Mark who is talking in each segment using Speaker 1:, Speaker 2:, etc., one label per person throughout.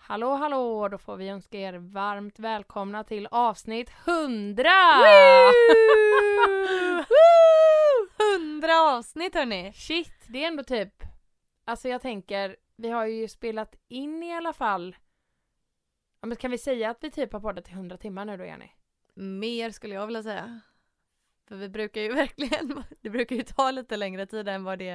Speaker 1: Hallå hallå! Då får vi önska er varmt välkomna till avsnitt 100!
Speaker 2: Hundra avsnitt hörni!
Speaker 1: Shit, det är ändå typ... Alltså jag tänker, vi har ju spelat in i alla fall... Ja, men kan vi säga att vi typ har poddat i 100 timmar nu då Jenny?
Speaker 2: Mer skulle jag vilja säga. För vi brukar ju verkligen, det brukar ju ta lite längre tid än vad det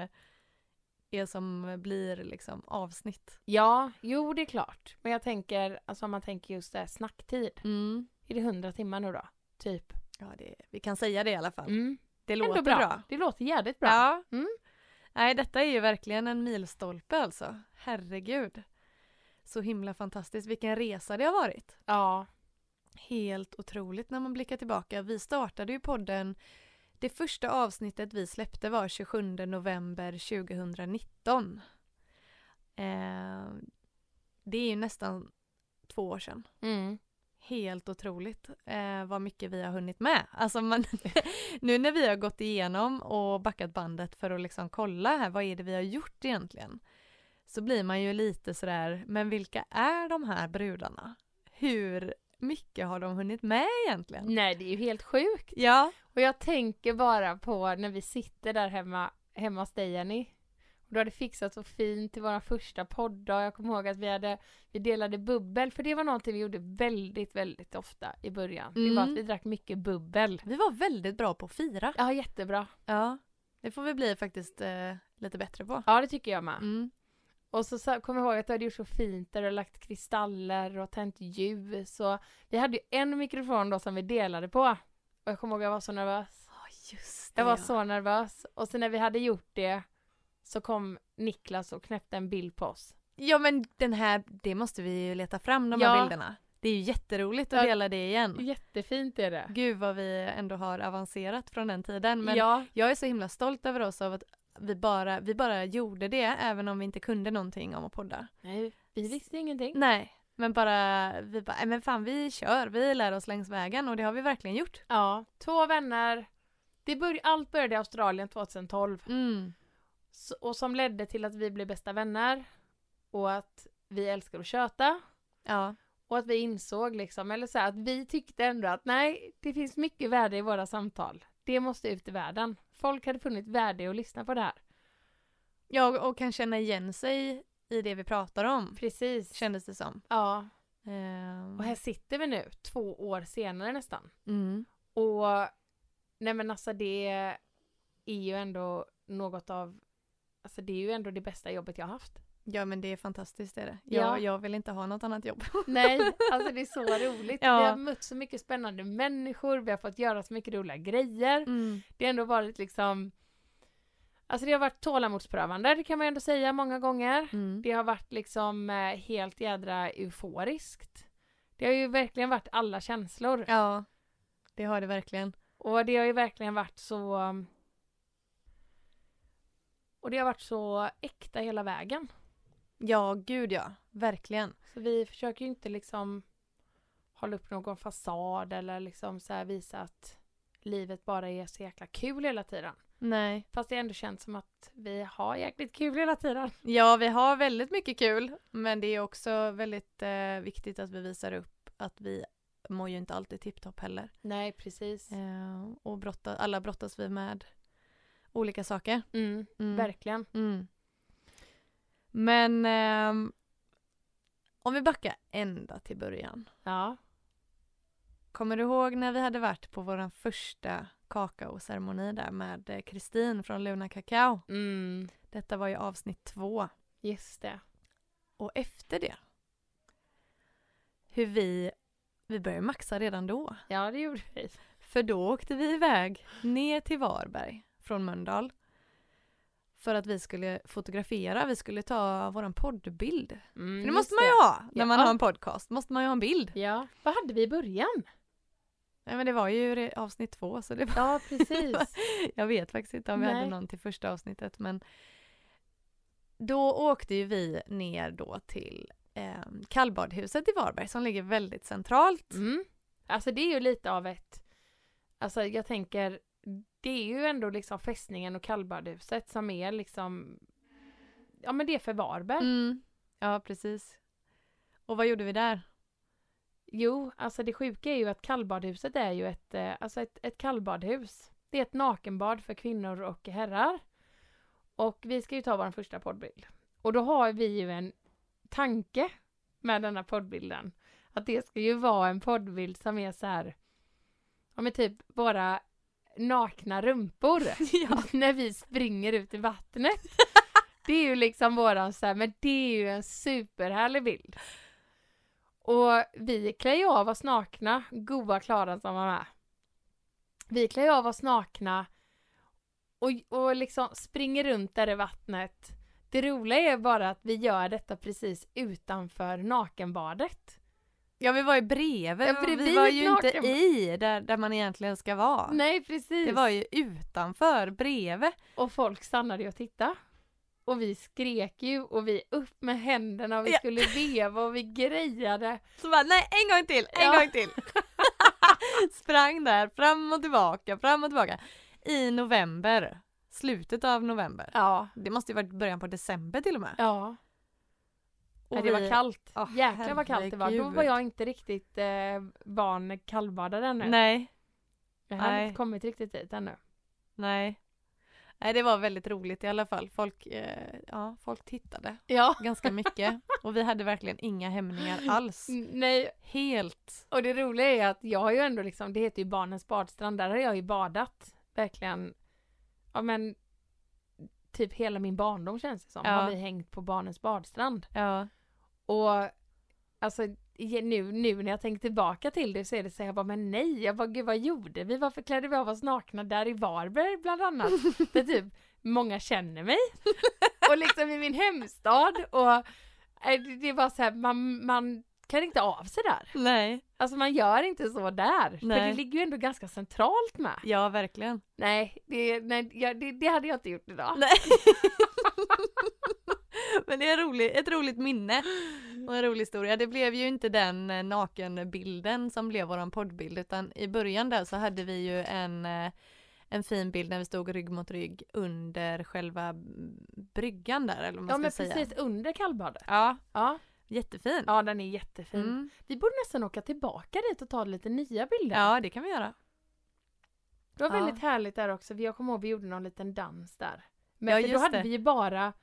Speaker 2: är som blir liksom avsnitt.
Speaker 1: Ja, jo det är klart. Men jag tänker, alltså om man tänker just det här snacktid.
Speaker 2: Mm.
Speaker 1: Är det 100 timmar nu då? Typ.
Speaker 2: Ja, det, vi kan säga det i alla fall.
Speaker 1: Mm.
Speaker 2: Det
Speaker 1: Ändå
Speaker 2: låter
Speaker 1: bra.
Speaker 2: bra.
Speaker 1: Det låter jävligt bra.
Speaker 2: Ja.
Speaker 1: Mm.
Speaker 2: Nej, detta är ju verkligen en milstolpe alltså. Herregud. Så himla fantastiskt. Vilken resa det har varit.
Speaker 1: Ja.
Speaker 2: Helt otroligt när man blickar tillbaka. Vi startade ju podden. Det första avsnittet vi släppte var 27 november 2019. Eh, det är ju nästan två år sedan.
Speaker 1: Mm.
Speaker 2: Helt otroligt eh, vad mycket vi har hunnit med. Alltså man, nu när vi har gått igenom och backat bandet för att liksom kolla här, vad är det vi har gjort egentligen? Så blir man ju lite sådär, men vilka är de här brudarna? Hur mycket har de hunnit med egentligen?
Speaker 1: Nej, det är ju helt sjukt.
Speaker 2: Ja,
Speaker 1: Och jag tänker bara på när vi sitter där hemma, hemma hos dig Jenny. Och du hade fixat så fint till vår första podddag. Jag kommer ihåg att vi, hade, vi delade bubbel, för det var någonting vi gjorde väldigt, väldigt ofta i början. Det var
Speaker 2: Mm.
Speaker 1: att vi drack mycket bubbel.
Speaker 2: vi var väldigt bra på att fira.
Speaker 1: Ja, jättebra.
Speaker 2: Ja, det får vi bli faktiskt eh, lite bättre på.
Speaker 1: Ja, det tycker jag med.
Speaker 2: Mm.
Speaker 1: Och så, sa- kommer jag ihåg att du hade gjort så fint där du hade lagt kristaller och tänt ljus. Och vi hade ju en mikrofon då som vi delade på. Och jag kommer ihåg att jag var så nervös.
Speaker 2: Ja, just det.
Speaker 1: Jag var
Speaker 2: ja.
Speaker 1: så nervös. Och sen när vi hade gjort det så kom Niklas och knäppte en bild på oss.
Speaker 2: Ja men den här, det måste vi ju leta fram de här
Speaker 1: Ja.
Speaker 2: bilderna. Det är ju jätteroligt att
Speaker 1: Ja.
Speaker 2: dela det igen.
Speaker 1: Jättefint är det.
Speaker 2: Gud vad vi ändå har avancerat från den tiden. Men
Speaker 1: ja.
Speaker 2: jag är så himla stolt över oss av att vi bara, vi bara gjorde det även om vi inte kunde någonting om att podda.
Speaker 1: Nej, vi visste ingenting.
Speaker 2: Nej, men bara, vi bara, "Nej, men fan vi kör, vi lär oss längs vägen och det har vi verkligen gjort.
Speaker 1: Ja, två vänner. Det bör, allt började i Australien 2012
Speaker 2: Mm.
Speaker 1: S- och som ledde till att vi blev bästa vänner och att vi älskar att köta
Speaker 2: Ja,
Speaker 1: och att vi insåg liksom, eller så här, att vi tyckte ändå att nej, det finns mycket värde i våra samtal. Det måste ut i världen. Folk hade funnit värde i att lyssna på det här.
Speaker 2: ja och kan känna igen sig i det vi pratar om,
Speaker 1: Precis.
Speaker 2: kändes det som.
Speaker 1: Ja.
Speaker 2: Ehm,
Speaker 1: Och här sitter vi nu, två år senare nästan.
Speaker 2: mm.
Speaker 1: Och nej men alltså det är ju ändå något av, alltså det är ju ändå det bästa jobbet jag har haft.
Speaker 2: Ja men det är fantastiskt det är det.
Speaker 1: Ja.
Speaker 2: Jag, jag vill inte ha något annat jobb.
Speaker 1: Nej, alltså det är så roligt.
Speaker 2: Ja.
Speaker 1: Vi har mött så mycket spännande människor, vi har fått göra så mycket roliga grejer.
Speaker 2: Mm.
Speaker 1: Det har ändå varit liksom, alltså det har varit tålamodsprövande, det kan man ju ändå säga många gånger.
Speaker 2: Mm.
Speaker 1: Det har varit liksom eh, helt jädra euforiskt. Det har ju verkligen varit alla känslor.
Speaker 2: Ja, det har det verkligen.
Speaker 1: Och det har ju verkligen varit så... um, Och det har varit så äkta hela vägen.
Speaker 2: Ja, gud ja. Verkligen.
Speaker 1: Så vi försöker ju inte liksom hålla upp någon fasad eller liksom så här visa att livet bara är så jäkla kul hela tiden.
Speaker 2: Nej.
Speaker 1: Fast det ändå känns som att vi har jäkligt kul hela tiden.
Speaker 2: Ja, vi har väldigt mycket kul, men det är också väldigt eh, viktigt att vi visar upp att vi mår ju inte alltid tipptopp heller.
Speaker 1: Nej, precis.
Speaker 2: Eh, och brotta, alla brottas vi med olika saker.
Speaker 1: Mm,
Speaker 2: Mm.
Speaker 1: Verkligen.
Speaker 2: Mm. Men ehm, om vi backar ända till början.
Speaker 1: Ja.
Speaker 2: Kommer du ihåg när vi hade varit på vår första kakaoceremoni där med eh, Kristin från Luna Kakao?
Speaker 1: Mm.
Speaker 2: Detta var ju avsnitt två.
Speaker 1: Just det.
Speaker 2: Och efter det, hur vi, Vi började maxa redan då.
Speaker 1: Ja, det gjorde vi.
Speaker 2: För då åkte vi iväg ner till Varberg från Mölndal. För att vi skulle fotografera, vi skulle ta våran poddbild.
Speaker 1: Mm,
Speaker 2: För
Speaker 1: just
Speaker 2: det måste man ju ha när man
Speaker 1: Ja.
Speaker 2: har en podcast, måste man ju ha en bild.
Speaker 1: Ja, vad hade vi i början?
Speaker 2: Nej men det var ju re- avsnitt två så det var,
Speaker 1: Ja, precis.
Speaker 2: jag vet faktiskt inte om vi hade
Speaker 1: Nej.
Speaker 2: någon till första avsnittet men då åkte ju vi ner då till eh, kallbadhuset i Varberg som ligger väldigt centralt.
Speaker 1: Mm. Alltså det är ju lite av ett... Alltså jag tänker, det är ju ändå liksom fästningen och kallbadhuset som är liksom... Ja men det är för Varberg.
Speaker 2: Mm. Ja precis. Och vad gjorde vi där?
Speaker 1: Jo, alltså det sjuka är ju att kallbadhuset är ju ett, eh, alltså ett, ett kallbadhus. Det är ett nakenbad för kvinnor och herrar. Och vi ska ju ta vår första poddbild. Och då har vi ju en tanke med denna poddbilden. Att det ska ju vara en poddbild som är så här, ja men typ våra nakna rumpor när vi springer ut i vattnet. Det är ju liksom våran så här, men det är ju en superhärlig bild. Och vi klär ju av oss nakna, goa Klara som var med. Vi klär ju av oss nakna och, och liksom springer runt där i vattnet. Det roliga är bara att vi gör detta precis utanför nakenbadet.
Speaker 2: Ja vi var ju bredvid,
Speaker 1: Ja,
Speaker 2: vi
Speaker 1: bredvid
Speaker 2: var ju inte
Speaker 1: naken.
Speaker 2: i där, där man egentligen ska vara.
Speaker 1: Nej, precis.
Speaker 2: Det var ju utanför, bredvid.
Speaker 1: Och folk stannade ju och tittade. Och vi skrek ju och vi upp med händerna och vi
Speaker 2: Ja.
Speaker 1: skulle veva och vi grejade.
Speaker 2: Så bara nej en gång till, en
Speaker 1: Ja.
Speaker 2: gång till. Sprang där fram och tillbaka, fram och tillbaka. I november, slutet av november.
Speaker 1: Ja.
Speaker 2: Det måste ju varit början på december till och med.
Speaker 1: Ja.
Speaker 2: Och
Speaker 1: Nej, det var
Speaker 2: vi-
Speaker 1: kallt.
Speaker 2: Åh,
Speaker 1: Jäklar vad kallt det var. Då
Speaker 2: herregud.
Speaker 1: var jag inte riktigt eh, barn kallbadare ännu.
Speaker 2: Nej,
Speaker 1: jag hade
Speaker 2: nej.
Speaker 1: inte kommit riktigt dit ännu.
Speaker 2: nej. Nej det var väldigt roligt i alla fall. Folk, eh, ja, folk tittade
Speaker 1: Ja.
Speaker 2: ganska mycket. och vi hade verkligen inga hämningar alls.
Speaker 1: Nej,
Speaker 2: Helt.
Speaker 1: och det roliga är att jag har ju ändå liksom, det heter ju barnens badstrand, där har jag ju badat verkligen, ja men typ hela min barndom känns det som,
Speaker 2: Ja.
Speaker 1: har vi hängt på barnens badstrand.
Speaker 2: Ja.
Speaker 1: Och alltså i- nu, nu när jag tänker tillbaka till det så är det så här, jag bara men nej, jag bara gud vad gjorde vi? Varför klädde vi av oss nakna där i Varberg bland annat? Där typ många känner mig. Och liksom i min hemstad och eh, det- det var så här, man, man klär inte av sig där.
Speaker 2: Nej.
Speaker 1: Alltså man gör inte så där. För
Speaker 2: Nej.
Speaker 1: det ligger ju ändå ganska centralt med.
Speaker 2: Ja verkligen.
Speaker 1: Nej, det, nej ja, det, det hade jag inte gjort idag.
Speaker 2: Nej. Men det är rolig, ett roligt minne och en rolig historia. Det blev ju inte den eh, nakenbilden som blev våran poddbild utan i början där så hade vi ju en, eh, en fin bild när vi stod rygg mot rygg under själva bryggan där eller vad man
Speaker 1: Ja
Speaker 2: ska
Speaker 1: men
Speaker 2: säga.
Speaker 1: precis under kallbadet.
Speaker 2: Ja,
Speaker 1: Ja,
Speaker 2: jättefin.
Speaker 1: ja den är jättefin.
Speaker 2: Mm.
Speaker 1: Vi borde nästan åka tillbaka dit och ta lite nya bilder.
Speaker 2: Ja, det kan vi göra.
Speaker 1: Det var
Speaker 2: ja.
Speaker 1: väldigt härligt där också. Jag kommer ihåg vi gjorde någon liten dans där.
Speaker 2: Ja,
Speaker 1: Men för då
Speaker 2: just
Speaker 1: hade
Speaker 2: det.
Speaker 1: vi ju bara,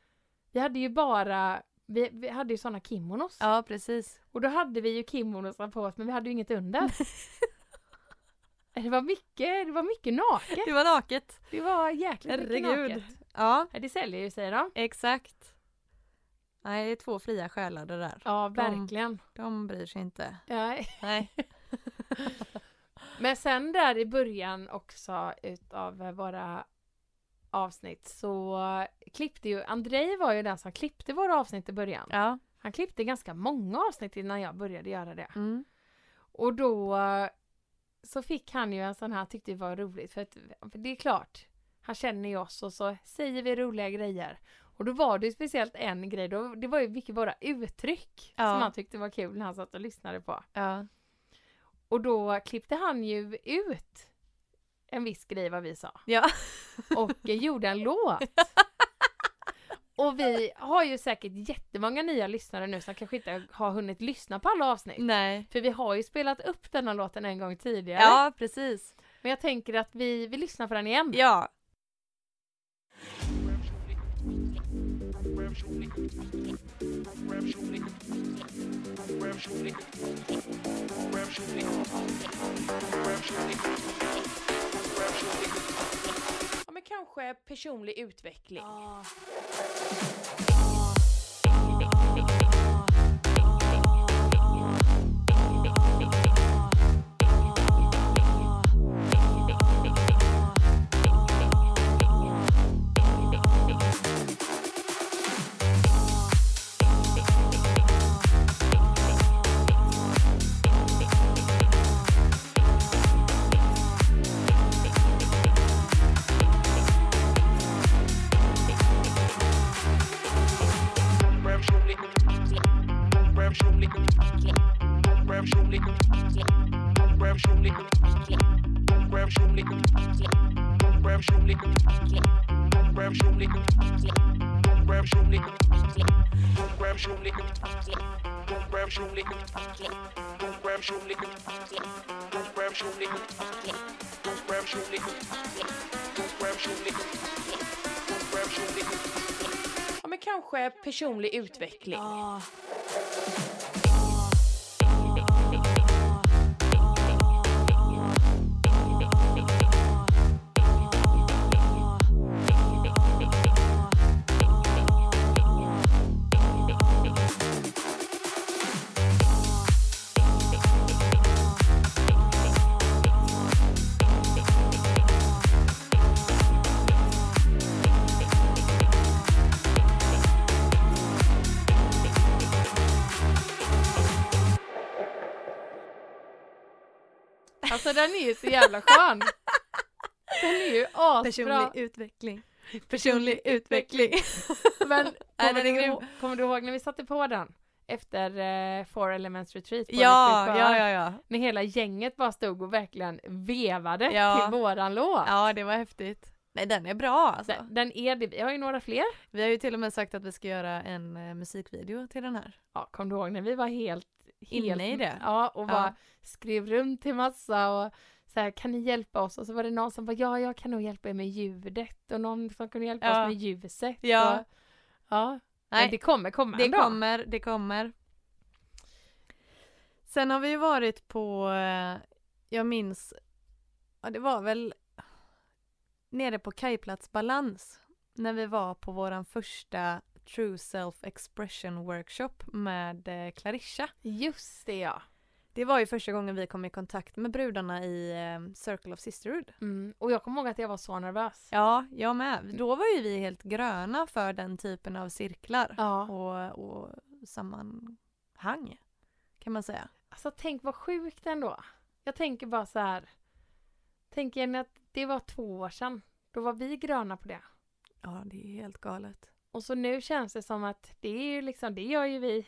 Speaker 1: vi hade ju bara, vi, vi hade ju sådana kimonos.
Speaker 2: Ja, precis.
Speaker 1: Och då hade vi ju kimonosar på oss men vi hade ju inget under. det var mycket, det var mycket naket.
Speaker 2: Det var naket.
Speaker 1: Det var jäkligt
Speaker 2: Herregud.
Speaker 1: mycket naket.
Speaker 2: Ja,
Speaker 1: Ja, Det säljer ju säger de.
Speaker 2: exakt. Nej, det är två fria själar det där.
Speaker 1: Ja, verkligen.
Speaker 2: De bryr sig inte.
Speaker 1: Nej.
Speaker 2: Nej.
Speaker 1: Men sen där i början också utav eh, våra avsnitt så klippte ju, Andrei var ju den som klippte våra avsnitt i början.
Speaker 2: Ja.
Speaker 1: Han klippte ganska många avsnitt innan jag började göra det.
Speaker 2: Mm.
Speaker 1: Och då eh, så fick han ju en sån här, han tyckte det var roligt för att för det är klart, han känner ju oss och så säger vi roliga grejer. Och då var det ju speciellt en grej, då, det var ju mycket våra uttryck
Speaker 2: Ja.
Speaker 1: som han tyckte var kul när han satt och lyssnade på.
Speaker 2: Ja.
Speaker 1: Och då klippte han ju ut en viss grej vad vi sa
Speaker 2: Ja.
Speaker 1: och eh, gjorde en låt. Och vi har ju säkert jättemånga nya lyssnare nu som kanske inte har hunnit lyssna på alla
Speaker 3: Mm.
Speaker 1: avsnitt.
Speaker 2: Nej.
Speaker 1: För vi har ju spelat upp denna låten en gång tidigare.
Speaker 2: Ja, precis.
Speaker 1: Men jag tänker att vi, vi lyssnar på den igen.
Speaker 2: Ja.
Speaker 3: Ja, men kanske personlig utveckling. Personlig Personlig Personlig Personlig Personlig Personlig Personlig Personlig Personlig Personlig Ja, men kanske personlig utveckling.
Speaker 1: Alltså den är ju så jävla skön. Den är ju asbra.
Speaker 2: Personlig utveckling. Personlig utveckling.
Speaker 1: Men
Speaker 2: Nej,
Speaker 1: kommer,
Speaker 2: den
Speaker 1: du,
Speaker 2: är
Speaker 1: ihåg- kommer du ihåg när vi satte på den? Efter eh, Four Elements Retreat på
Speaker 2: Ja,
Speaker 1: Växjö
Speaker 2: ja,
Speaker 1: sjö?
Speaker 2: ja, ja.
Speaker 1: När hela gänget bara stod och verkligen vevade
Speaker 2: Ja.
Speaker 1: till våran låt.
Speaker 2: Ja, det var häftigt. Nej, den är bra alltså.
Speaker 1: Den, den är det. Vi har ju några fler.
Speaker 2: Vi har ju till och med sagt att vi ska göra en eh, musikvideo till den här.
Speaker 1: Ja, kom du ihåg när vi var helt, helt
Speaker 2: Inne i det.
Speaker 1: Ja, och
Speaker 2: Ja.
Speaker 1: bara skrev runt till massa och så här, kan ni hjälpa oss? Och så var det någon som bara, ja, jag kan nog hjälpa er med ljudet och någon som kunde hjälpa
Speaker 2: Ja.
Speaker 1: oss med ljuset.
Speaker 2: Ja.
Speaker 1: Och, ja.
Speaker 2: Nej,
Speaker 1: Men det kommer komma
Speaker 2: Det
Speaker 1: en dag.
Speaker 2: kommer, det kommer. Sen har vi ju varit på, eh, jag minns, ja det var väl nere på Kajplats Balans när vi var på våran första True Self Expression Workshop med eh, Clarissa.
Speaker 1: Just det, ja.
Speaker 2: Det var ju första gången vi kom i kontakt med brudarna i eh, Circle of Sisterhood.
Speaker 1: Mm. Och jag kommer ihåg att jag var så nervös.
Speaker 2: Ja, jag med. Då var ju vi helt gröna för den typen av cirklar
Speaker 1: Ja.
Speaker 2: och, och sammanhang kan man säga.
Speaker 1: Alltså tänk vad sjukt ändå. Jag tänker bara så här. Tänk igen att det var två år sedan. Då var vi gröna på det.
Speaker 2: Ja, det är helt galet.
Speaker 1: Och så nu känns det som att det är ju liksom, det gör ju vi.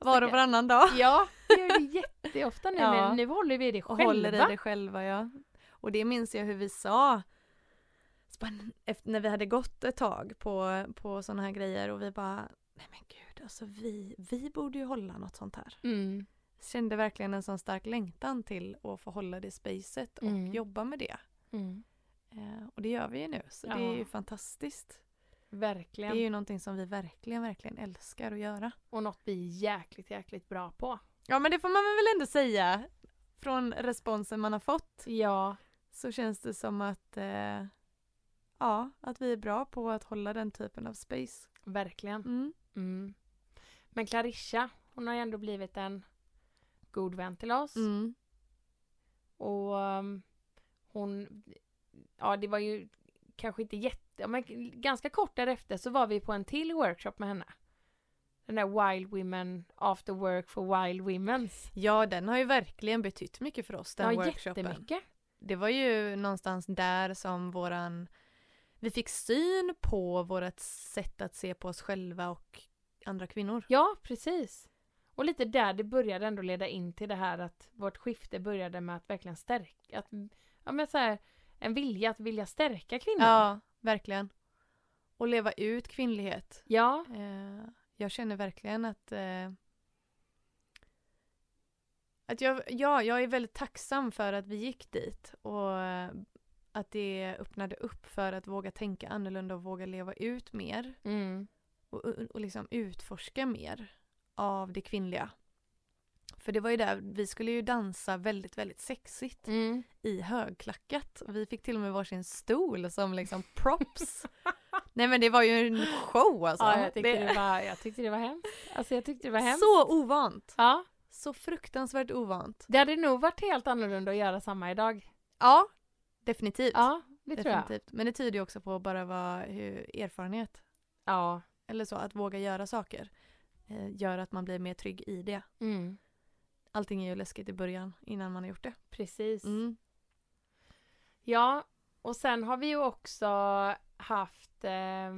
Speaker 2: Var och varannan dag.
Speaker 1: Ja, det gör vi jätteofta nu.
Speaker 2: Ja.
Speaker 1: Men nu håller vi det
Speaker 2: Och
Speaker 1: själva.
Speaker 2: håller i det själva, ja. Och det minns jag hur vi sa så bara, efter- när vi hade gått ett tag på, på sådana här grejer och vi bara Nej men gud, alltså vi, vi borde ju hålla något sånt här.
Speaker 1: Mm.
Speaker 2: Kände verkligen en sån stark längtan till att få hålla det spacet och
Speaker 1: Mm.
Speaker 2: jobba med det.
Speaker 1: Mm.
Speaker 2: Eh, och det gör vi ju nu, så det
Speaker 1: Ja.
Speaker 2: är ju fantastiskt. Det
Speaker 1: Verkligen.
Speaker 2: är ju någonting som vi verkligen, verkligen älskar att göra.
Speaker 1: Och något vi är jäkligt, jäkligt bra på.
Speaker 2: Ja men det får man väl ändå säga. Från responsen man har fått
Speaker 1: Ja.
Speaker 2: så känns det som att eh, ja, att vi är bra på att hålla den typen av space.
Speaker 1: Verkligen.
Speaker 2: Mm.
Speaker 1: Mm. Men Clarissa, hon har ju ändå blivit en god vän till oss.
Speaker 2: Mm.
Speaker 1: Och um, hon, ja det var ju kanske inte jätte, ja, men ganska kort därefter så var vi på en till workshop med henne. Den där Wild Women After Work for Wild Womens.
Speaker 2: Ja, den har ju verkligen betytt mycket för oss, den
Speaker 1: ja,
Speaker 2: workshopen.
Speaker 1: jättemycket.
Speaker 2: Det var ju någonstans där som våran... Vi fick syn på vårt sätt att se på oss själva och andra kvinnor.
Speaker 1: Ja, precis. Och lite där det började ändå leda in till det här att vårt skifte började med att verkligen stärka, att, ja men så här, en vilja att vilja stärka kvinnor.
Speaker 2: Ja, verkligen. Och leva ut kvinnlighet.
Speaker 1: ja.
Speaker 2: Eh, jag känner verkligen att, eh, att jag, ja, jag är väldigt tacksam för att vi gick dit och eh, att det öppnade upp för att våga tänka annorlunda och våga leva ut mer
Speaker 1: Mm.
Speaker 2: och, och, och liksom utforska mer av det kvinnliga. För det var ju där, vi skulle ju dansa väldigt, väldigt sexigt
Speaker 1: Mm.
Speaker 2: i högklackat. Och vi fick till och med varsin stol som liksom props. Nej men det var ju en show alltså.
Speaker 1: Ja, jag tyckte
Speaker 2: Det-
Speaker 1: det... var, jag tyckte det var hemskt. Alltså jag tyckte det var hemskt.
Speaker 2: Så ovant!
Speaker 1: Ja.
Speaker 2: Så fruktansvärt ovant.
Speaker 1: Det hade nog varit helt annorlunda att göra samma idag.
Speaker 2: Ja, definitivt.
Speaker 1: Ja, det tror jag.
Speaker 2: Typ. definitivt. Men det tyder ju också på bara vad, hur erfarenhet,
Speaker 1: Ja.
Speaker 2: eller så, att våga göra saker eh, gör att man blir mer trygg i det.
Speaker 1: Mm.
Speaker 2: Allting är ju läskigt i början innan man har gjort det.
Speaker 1: Precis.
Speaker 2: Mm.
Speaker 1: Ja, och sen har vi ju också haft... Eh,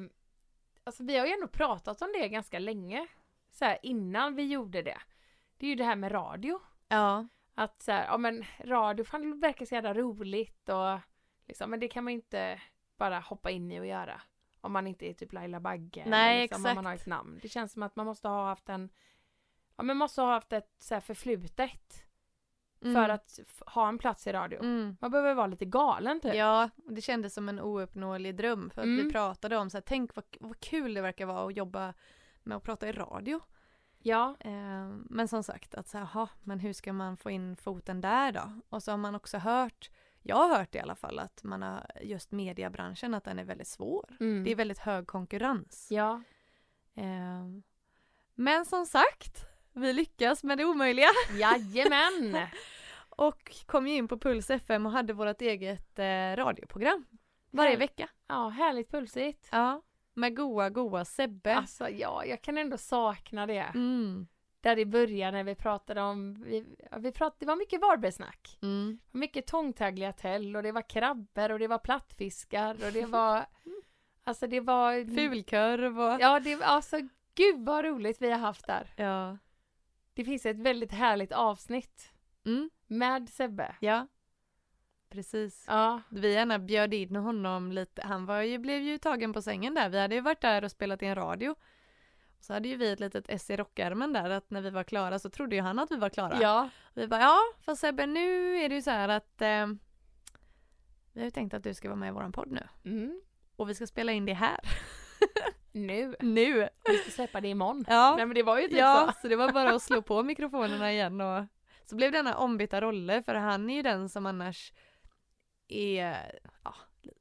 Speaker 1: alltså vi har ju ändå pratat om det ganska länge. Så här, innan vi gjorde det. Det är ju det här med radio.
Speaker 2: Ja,
Speaker 1: Att så här, ja men radio fan det verkar så jävla roligt och liksom, men det kan man inte bara hoppa in i och göra. Om man inte är typ Laila Bagge. eller
Speaker 2: Nej,
Speaker 1: liksom, Om man
Speaker 2: exakt.
Speaker 1: har ett namn. Det känns som att man måste ha haft en, ja men måste ha haft ett så här förflutet. För att f- ha en plats i radio.
Speaker 2: Mm.
Speaker 1: Man behöver vara lite galen typ.
Speaker 2: Ja, det kändes som en ouppnåelig dröm för att
Speaker 1: Mm.
Speaker 2: vi pratade om så här, tänk vad, vad kul det verkar vara att jobba med att prata i radio.
Speaker 1: ja.
Speaker 2: Eh, men som sagt, att så här, aha, men hur ska man få in foten där då? Och så har man också hört, jag har hört i alla fall att man har just mediebranschen att den är väldigt svår.
Speaker 1: Mm.
Speaker 2: Det är väldigt hög konkurrens.
Speaker 1: ja.
Speaker 2: Eh, men som sagt, vi lyckas med det omöjliga.
Speaker 1: Jajamän!
Speaker 2: Och kom ju in på Puls FM och hade vårt eget eh, radioprogram. Varje
Speaker 1: Här-
Speaker 2: vecka.
Speaker 1: Ja, härligt pulsigt.
Speaker 2: Ja. Med goa, goa Sebbe.
Speaker 1: Alltså ja, jag kan ändå sakna det.
Speaker 2: Mm.
Speaker 1: Där i början när vi pratade om, vi, ja, vi pratade, det var mycket Varbergsnack.
Speaker 2: Mm.
Speaker 1: Det var Mycket tångtagliatell och det var krabbor och det var plattfiskar och det var, alltså det var...
Speaker 2: Fulkurv och...
Speaker 1: Ja, det var alltså gud vad roligt vi har haft där.
Speaker 2: Ja.
Speaker 1: Det finns ett väldigt härligt avsnitt
Speaker 2: Mm.
Speaker 1: med Sebbe.
Speaker 2: ja. Precis.
Speaker 1: Ja,
Speaker 2: Vi gärna bjöd in honom lite. Han var ju, blev ju tagen på sängen där. Vi hade ju varit där och spelat in radio. Så hade ju vi ett litet S i rockärmen där att när vi var klara så trodde ju han att vi var klara.
Speaker 1: ja,
Speaker 2: Vi bara, ja fast Sebbe nu är det ju så här att eh, vi har ju tänkt att du ska vara med i våran podd nu.
Speaker 1: mm.
Speaker 2: Och vi ska spela in det här.
Speaker 1: nu.
Speaker 2: Nu!
Speaker 1: Vi ska släppa det imorgon. Nej
Speaker 2: Ja,
Speaker 1: men det var ju typ
Speaker 2: ja
Speaker 1: så.
Speaker 2: så det var bara att slå på mikrofonerna igen och så blev denna ombytta roller för han är ju den som annars är ja,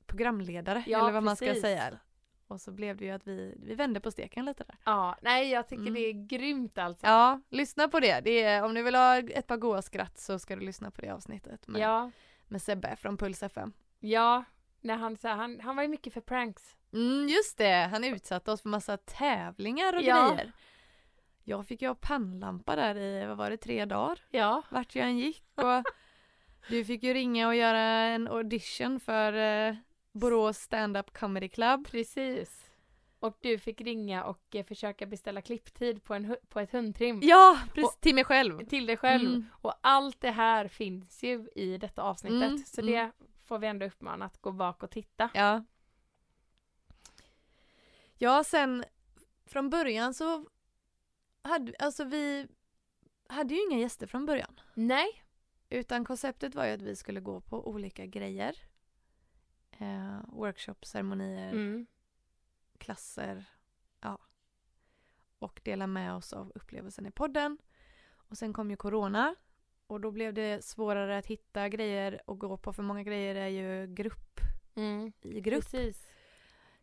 Speaker 2: programledare
Speaker 1: Ja,
Speaker 2: eller vad man ska
Speaker 1: precis.
Speaker 2: säga. Och så blev det ju att vi, vi vände på steken lite där.
Speaker 1: Ja, nej jag tycker
Speaker 2: Mm.
Speaker 1: det är grymt alltså.
Speaker 2: Ja, lyssna på det. det är, om du vill ha ett par goa skratt så ska du lyssna på det avsnittet med,
Speaker 1: Ja,
Speaker 2: med Sebbe från Puls FM.
Speaker 1: ja. När han, så, han, han var ju mycket för pranks.
Speaker 2: Mm, just det, han utsatte oss för massa tävlingar och
Speaker 1: Ja.
Speaker 2: grejer. Jag fick ju ha pannlampa där i, vad var det, tre dagar?
Speaker 1: Ja.
Speaker 2: Vart jag än gick och du fick ju ringa och göra en audition för eh, Borås stand-up comedy club.
Speaker 1: Precis. Och du fick ringa och eh, försöka beställa klipptid på, en, hu- på ett hundtrim.
Speaker 2: Ja, precis, till mig själv.
Speaker 1: Till dig själv.
Speaker 2: Mm.
Speaker 1: Och allt det här finns ju i detta avsnittet.
Speaker 2: Mm,
Speaker 1: Så
Speaker 2: mm.
Speaker 1: det får vi ändå uppmana att gå bak och titta.
Speaker 2: Ja. Ja, sen från början så hade, alltså vi hade ju inga gäster från början.
Speaker 1: Nej.
Speaker 2: Utan konceptet var ju att vi skulle gå på olika grejer. Eh, workshops, ceremonier,
Speaker 1: Mm.
Speaker 2: klasser. Ja. Och dela med oss av upplevelsen i podden. Och sen kom ju corona. Och då blev det svårare att hitta grejer och gå på. För många grejer är ju grupp
Speaker 1: Mm.
Speaker 2: i grupp.
Speaker 1: Precis.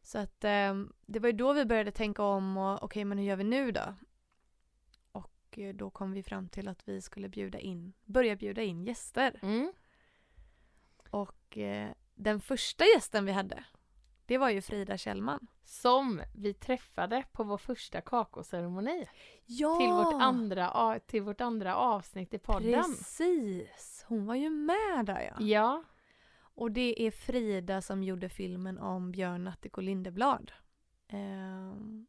Speaker 2: Så att eh, det var ju då vi började tänka om och okej men hur gör vi nu då? Och eh, då kom vi fram till att vi skulle bjuda in, börja bjuda in gäster.
Speaker 1: Mm.
Speaker 2: Och eh, den första gästen vi hade, det var ju Frida Kjellman.
Speaker 1: Som vi träffade på vår första kakaoceremoni.
Speaker 2: Ja!
Speaker 1: Till, vårt andra, a- till vårt andra avsnitt i podden.
Speaker 2: Ah. Precis! Hon var ju med där ja.
Speaker 1: Ja.
Speaker 2: Och det är Frida som gjorde filmen om Björn Attic och Lindeblad. Ehm,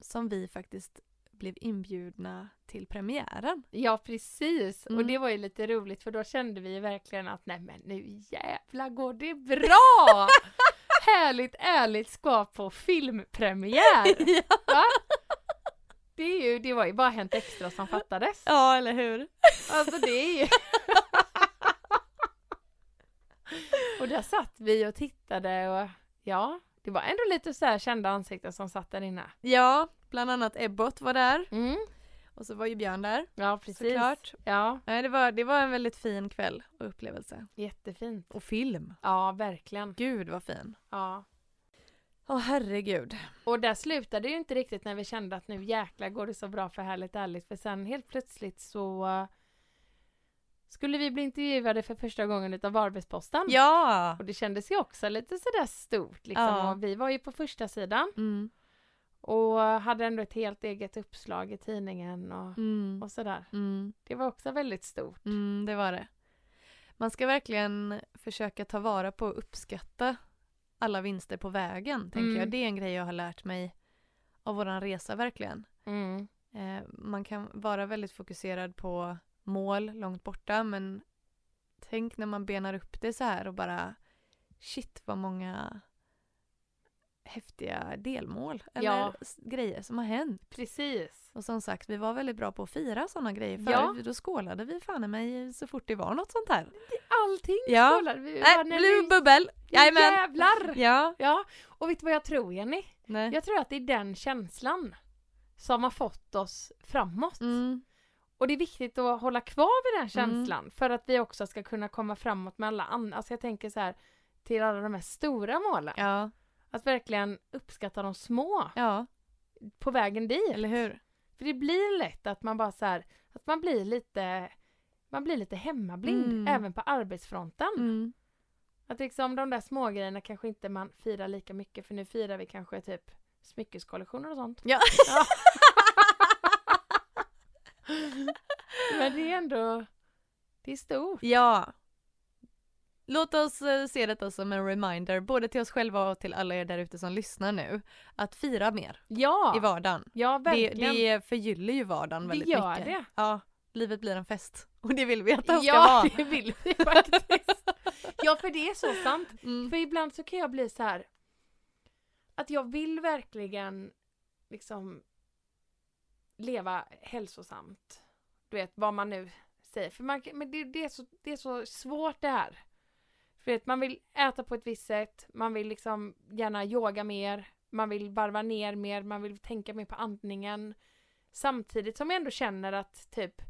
Speaker 2: som vi faktiskt blev inbjudna till premiären.
Speaker 1: Ja precis, och
Speaker 2: Mm.
Speaker 1: det var ju lite roligt för då kände vi ju verkligen att nej men nu jävlar går det bra! Härligt ärligt ska på filmpremiär! Va? Det, är ju, det var ju bara Hänt Extra som fattades.
Speaker 2: Ja, eller hur?
Speaker 1: Alltså det är ju... och där satt vi och tittade och ja, det var ändå lite så här kända ansikten som satt där inne.
Speaker 2: Ja, bland annat Ebbot var där
Speaker 1: Mm.
Speaker 2: och så var ju Björn där.
Speaker 1: Ja precis.
Speaker 2: Såklart.
Speaker 1: Ja,
Speaker 2: Nej, det, var, det var en väldigt fin kväll och upplevelse.
Speaker 1: jättefint.
Speaker 2: Och film.
Speaker 1: Ja, verkligen.
Speaker 2: Gud vad fin.
Speaker 1: Ja.
Speaker 2: Ja herregud.
Speaker 1: Och där slutade det ju inte riktigt när vi kände att nu jäklar går det så bra för Härligt Ärligt. För sen helt plötsligt så eh, skulle vi bli intervjuade för första gången utav Varbergsposten.
Speaker 2: Ja!
Speaker 1: Och det kändes ju också lite sådär stort liksom.
Speaker 2: Ja.
Speaker 1: Och vi var ju på första sidan
Speaker 2: Mm.
Speaker 1: och hade ändå ett helt eget uppslag i tidningen och,
Speaker 2: Mm.
Speaker 1: och sådär.
Speaker 2: Mm.
Speaker 1: Det var också väldigt stort.
Speaker 2: Mm, det var det. Man ska verkligen försöka ta vara på och uppskatta alla vinster på vägen, tänker
Speaker 1: Mm.
Speaker 2: jag. Det är en grej jag har lärt mig av våran resa verkligen.
Speaker 1: Mm.
Speaker 2: Eh, man kan vara väldigt fokuserad på mål långt borta men tänk när man benar upp det så här och bara shit vad många häftiga delmål eller
Speaker 1: Ja.
Speaker 2: s- grejer som har hänt.
Speaker 1: Precis.
Speaker 2: Och som sagt, vi var väldigt bra på att fira sådana grejer förr.
Speaker 1: Ja.
Speaker 2: Då skålade vi fan i mig så fort det var något sånt här.
Speaker 1: Allting
Speaker 2: Ja.
Speaker 1: skålade vi
Speaker 2: Nej,
Speaker 1: bara när
Speaker 2: nu
Speaker 1: vi-
Speaker 2: bubbel! Jajamän!
Speaker 1: Äh, Jävlar!
Speaker 2: Ja,
Speaker 1: Ja, och vet du vad jag tror Jenny?
Speaker 2: nej.
Speaker 1: Jag tror att det är den känslan som har fått oss framåt.
Speaker 2: Mm.
Speaker 1: Och det är viktigt att hålla kvar vid den känslan för att vi också ska kunna komma framåt med alla andra. Alltså jag tänker så här till alla de här stora målen.
Speaker 2: Ja,
Speaker 1: Att verkligen uppskatta de små
Speaker 2: ja,
Speaker 1: på vägen dit.
Speaker 2: eller hur?
Speaker 1: För det blir lätt att man bara så här, att man blir lite man blir lite hemmablind
Speaker 2: Mm.
Speaker 1: även på arbetsfronten.
Speaker 2: Mm.
Speaker 1: Att liksom de där smågrejerna kanske inte man firar lika mycket för nu firar vi kanske typ smyckeskollektioner och sånt.
Speaker 2: Ja.
Speaker 1: Men det är ändå, det är stort.
Speaker 2: Ja. Låt oss eh, se detta som en reminder, både till oss själva och till alla er där ute som lyssnar nu, att fira mer i
Speaker 1: Ja,
Speaker 2: vardagen.
Speaker 1: ja
Speaker 2: Det,
Speaker 1: verkligen.
Speaker 2: det förgyller ju vardagen
Speaker 1: Det
Speaker 2: väldigt
Speaker 1: gör
Speaker 2: mycket.
Speaker 1: det.
Speaker 2: Ja, livet blir en fest. Och det vill vi att den ska
Speaker 1: ja,
Speaker 2: vara.
Speaker 1: det vill vi faktiskt. ja, för det är så sant.
Speaker 2: Mm.
Speaker 1: För ibland så kan jag bli så här att jag vill verkligen liksom leva hälsosamt. Du vet, vad man nu säger. För man, kan- men det, det, är så, det är så svårt det här. För du vet, man vill äta på ett visst sätt, man vill liksom gärna yoga mer, man vill varva ner mer, man vill tänka mer på andningen. Samtidigt som jag ändå känner att typ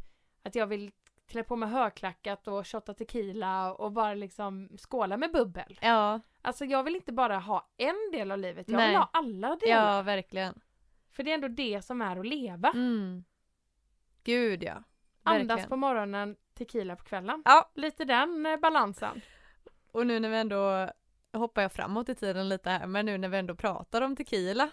Speaker 1: att jag vill klä på mig högklackat och shotta tequila och bara liksom skåla med bubbel.
Speaker 2: Ja,
Speaker 1: Alltså jag vill inte bara ha en del av livet, jag vill
Speaker 2: Nej.
Speaker 1: ha alla delar.
Speaker 2: ja, verkligen.
Speaker 1: För det är ändå det som är att leva.
Speaker 2: Mm. Gud ja.
Speaker 1: Andas
Speaker 2: Verkligen.
Speaker 1: på morgonen, tequila på kvällen.
Speaker 2: Ja.
Speaker 1: Lite den eh, balansen.
Speaker 2: Och nu när vi ändå hoppar jag framåt i tiden lite här, men nu när vi ändå pratar om tequila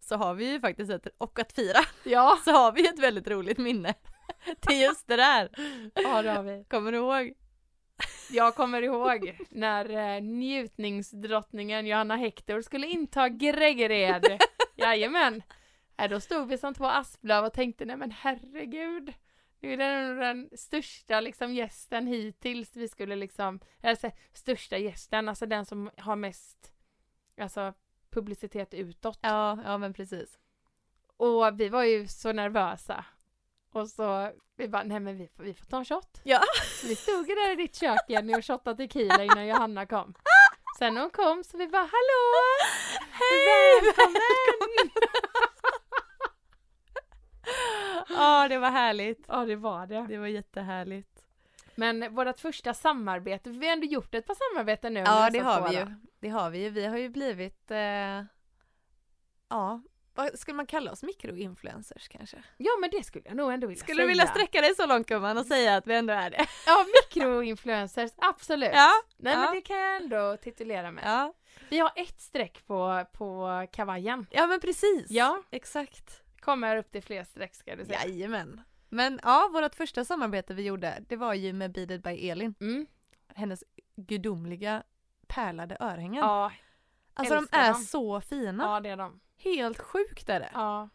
Speaker 2: så har vi ju faktiskt ett, och att fira,
Speaker 1: Ja,
Speaker 2: så har vi ju ett väldigt roligt minne till just det där.
Speaker 1: ja det har vi.
Speaker 2: Kommer du ihåg?
Speaker 1: Jag kommer ihåg när eh, njutningsdrottningen Johanna Hector skulle inta Gregered. Jajamän. Äh, då stod vi som två asplöv och tänkte nej men herregud. Nu är det nog den största liksom, gästen hittills vi skulle liksom, alltså, största gästen, alltså den som har mest alltså, publicitet utåt.
Speaker 2: Ja, ja men precis.
Speaker 1: Och vi var ju så nervösa. Och så vi bara, nej men vi får, vi får ta en shot.
Speaker 2: Ja.
Speaker 1: Vi stod ju där i ditt kök Jenny och shottade tequila innan Johanna kom. Sen när hon kom så vi bara, hallå!
Speaker 2: Hej!
Speaker 1: Välkommen!
Speaker 2: Ja, det var härligt.
Speaker 1: Ja det var det.
Speaker 2: Det var jättehärligt.
Speaker 1: Men vårt första samarbete, för vi har ändå gjort ett par samarbeten nu.
Speaker 2: Ja,
Speaker 1: med
Speaker 2: det
Speaker 1: dessa två,
Speaker 2: har vi
Speaker 1: då.
Speaker 2: ju. Det har vi ju. Vi har ju blivit, eh, ja, vad skulle man kalla oss? Mikroinfluencers kanske?
Speaker 1: Ja men det skulle jag nog ändå vilja
Speaker 2: Skulle
Speaker 1: säga.
Speaker 2: du vilja sträcka dig så långt gumman och säga att vi ändå är det?
Speaker 1: Ja, mikroinfluencers, absolut.
Speaker 2: Ja,
Speaker 1: Nej
Speaker 2: ja.
Speaker 1: men det kan jag ändå titulera mig.
Speaker 2: ja.
Speaker 1: Vi har ett streck på, på kavajen.
Speaker 2: Ja men precis.
Speaker 1: Ja.
Speaker 2: Exakt.
Speaker 1: Kommer upp till fler streck ska du säga.
Speaker 2: Jajamän. Men ja, vårt första samarbete vi gjorde, det var ju med Beaded by Elin.
Speaker 1: Mm.
Speaker 2: Hennes gudomliga pärlade örhängen.
Speaker 1: Ja,
Speaker 2: alltså de
Speaker 1: älskar
Speaker 2: är
Speaker 1: dem.
Speaker 2: så fina.
Speaker 1: ja det är de.
Speaker 2: Helt sjukt är det.
Speaker 1: Ja.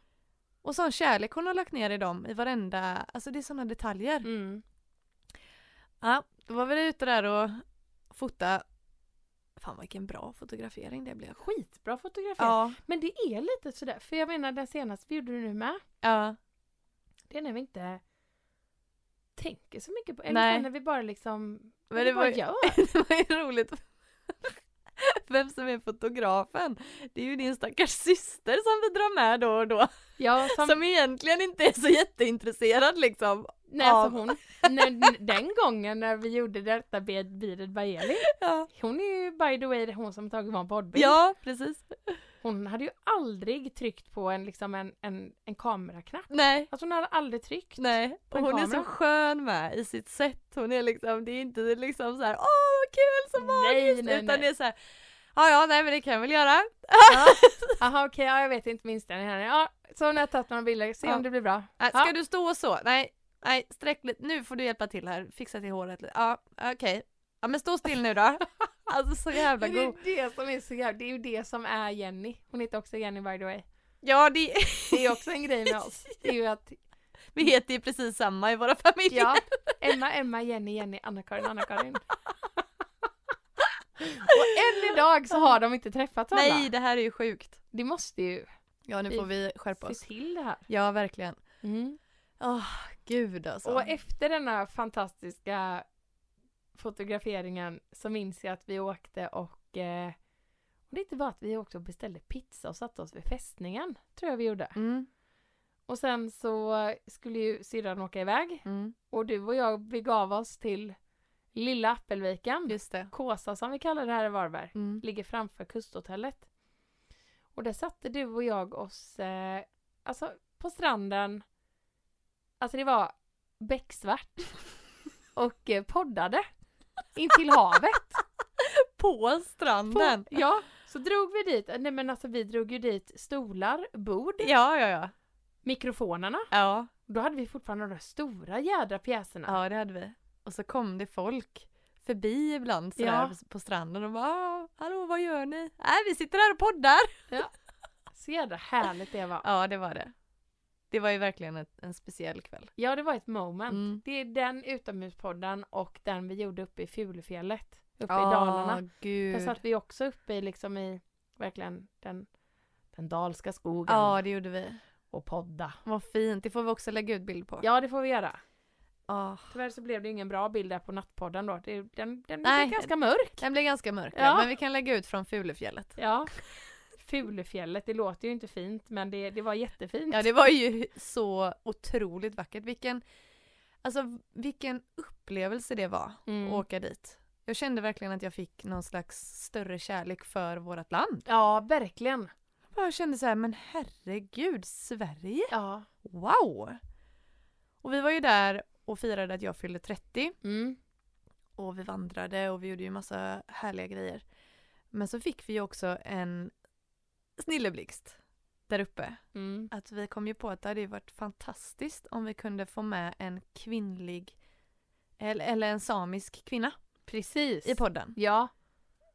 Speaker 2: Och sån kärlek hon har lagt ner i dem i varenda, alltså det är såna detaljer.
Speaker 1: Mm.
Speaker 2: Ja, då var vi ute där och fota. Fan vilken bra fotografering det blev.
Speaker 1: Skitbra fotografering.
Speaker 2: Ja.
Speaker 1: Men det är lite sådär, för jag menar den senaste vi gjorde nu med,
Speaker 2: Ja.
Speaker 1: det är när vi inte tänker så mycket på, eller
Speaker 2: Nej.
Speaker 1: Nej. när vi bara liksom, när
Speaker 2: det
Speaker 1: vi bara
Speaker 2: var-
Speaker 1: gör.
Speaker 2: Det var ju roligt. Vem som är fotografen. Det är ju din stackars syster som vi drar med då och då.
Speaker 1: Ja, som,
Speaker 2: Som, egentligen inte är så jätteintresserad liksom.
Speaker 1: nej,
Speaker 2: av-
Speaker 1: som hon, när, den gången när vi gjorde detta med Beaded by Elin,
Speaker 2: Ja,
Speaker 1: hon är ju by the way hon som tagit vår poddbild.
Speaker 2: ja precis.
Speaker 1: Hon hade ju aldrig tryckt på en, liksom en, en, en kameraknapp.
Speaker 2: Nej.
Speaker 1: Alltså hon hade aldrig tryckt.
Speaker 2: Nej,
Speaker 1: På
Speaker 2: och
Speaker 1: en
Speaker 2: hon är så
Speaker 1: kamera.
Speaker 2: skön med i sitt sätt. Hon är liksom, det är inte liksom så här, åh vad kul så
Speaker 1: Nej,
Speaker 2: magiskt,
Speaker 1: nej,
Speaker 2: utan
Speaker 1: nej.
Speaker 2: det är så här, ja ja nej men det kan jag väl göra.
Speaker 1: Jaha okej, ja, jag vet inte min inställning här. Ja, så hon har tagit några bilder, se
Speaker 2: Ja.
Speaker 1: om det blir bra.
Speaker 2: Äh, ska
Speaker 1: Ja.
Speaker 2: du stå så? Nej, nej sträck lite, nu får du hjälpa till här, fixa till håret lite. Ja, okej. Ja men stå still nu då. Alltså så jävla
Speaker 1: Det är
Speaker 2: god.
Speaker 1: ju det som är så jävla, det är ju det som är Jenny. Hon heter också Jenny by the way.
Speaker 2: Ja det,
Speaker 1: Det är också en grej med oss. Det är ju att
Speaker 2: Vi heter ju precis samma i våra familjer.
Speaker 1: Ja, Emma, Emma, Jenny, Jenny, Anna-Karin, Anna-Karin. Och än idag så har de inte träffat alla.
Speaker 2: Nej, det här är ju sjukt.
Speaker 1: Det måste ju
Speaker 2: Ja, nu
Speaker 1: Vi-
Speaker 2: får vi skärpa
Speaker 1: se
Speaker 2: oss.
Speaker 1: till det här.
Speaker 2: Ja, verkligen.
Speaker 1: Mm.
Speaker 2: Åh, gud alltså.
Speaker 1: Och efter denna fantastiska fotograferingen så minns jag att vi åkte och eh, och det inte bara att vi åkte och beställde pizza och satte oss vid fästningen, tror jag vi gjorde.
Speaker 2: Mm,
Speaker 1: Och sen så skulle ju syrran åka iväg
Speaker 2: mm,
Speaker 1: och du och jag begav oss till Lilla Appelviken,
Speaker 2: just det.
Speaker 1: Kåsa som vi kallar det här i Varberg.
Speaker 2: Mm.
Speaker 1: ligger framför kusthotellet. Och där satte du och jag oss eh, alltså på stranden. Alltså det var becksvart. Och eh, poddade. In till havet.
Speaker 2: På
Speaker 1: På,
Speaker 2: stranden.
Speaker 1: ja, så drog vi dit. Nej men alltså vi drog ju dit stolar, bord,
Speaker 2: Ja, ja, ja.
Speaker 1: mikrofonerna.
Speaker 2: Ja,
Speaker 1: Då hade vi fortfarande de där stora jädra pjäserna.
Speaker 2: ja det hade vi. Och så kom det folk förbi ibland sådär
Speaker 1: Ja.
Speaker 2: på stranden och bara "Ah, Hallå vad gör ni? Nej vi sitter här och poddar!
Speaker 1: Så jädra härligt det var.
Speaker 2: Ja det var det. Det var ju verkligen ett, en speciell kväll.
Speaker 1: Ja, det var ett moment.
Speaker 2: Mm.
Speaker 1: Det är den utomhuspodden och den vi gjorde uppe i Fulufjället. Uppe i Dalarna.
Speaker 2: Ja, gud.
Speaker 1: Där satt vi också uppe i, liksom i verkligen den, den dalska skogen
Speaker 2: Ja det gjorde vi.
Speaker 1: och podda.
Speaker 2: Vad fint, det får vi också lägga ut bild på.
Speaker 1: Ja, det får vi göra.
Speaker 2: Ja.
Speaker 1: Tyvärr så blev det ingen bra bild där på nattpodden då. Det, den den
Speaker 2: Nej.
Speaker 1: blev ganska mörk.
Speaker 2: Den blev ganska mörk, ja.
Speaker 1: Ja.
Speaker 2: men vi kan lägga ut från Fulufjället.
Speaker 1: Ja. Fulufjället, det låter ju inte fint men det, det var jättefint.
Speaker 2: Ja, det var ju så otroligt vackert. Vilken, alltså, vilken upplevelse det var
Speaker 1: Mm.
Speaker 2: att åka dit. Jag kände verkligen att jag fick någon slags större kärlek för vårt land.
Speaker 1: ja verkligen.
Speaker 2: Jag kände så här, men herregud, Sverige!
Speaker 1: Ja.
Speaker 2: Wow! Och vi var ju där och firade att jag fyllde 30
Speaker 1: Mm.
Speaker 2: och vi vandrade och vi gjorde ju massa härliga grejer. Men så fick vi ju också en snilleblixt där uppe.
Speaker 1: Mm.
Speaker 2: att vi kom ju på att det hade ju varit fantastiskt om vi kunde få med en kvinnlig eller, eller en samisk kvinna
Speaker 1: Precis.
Speaker 2: i podden.
Speaker 1: ja.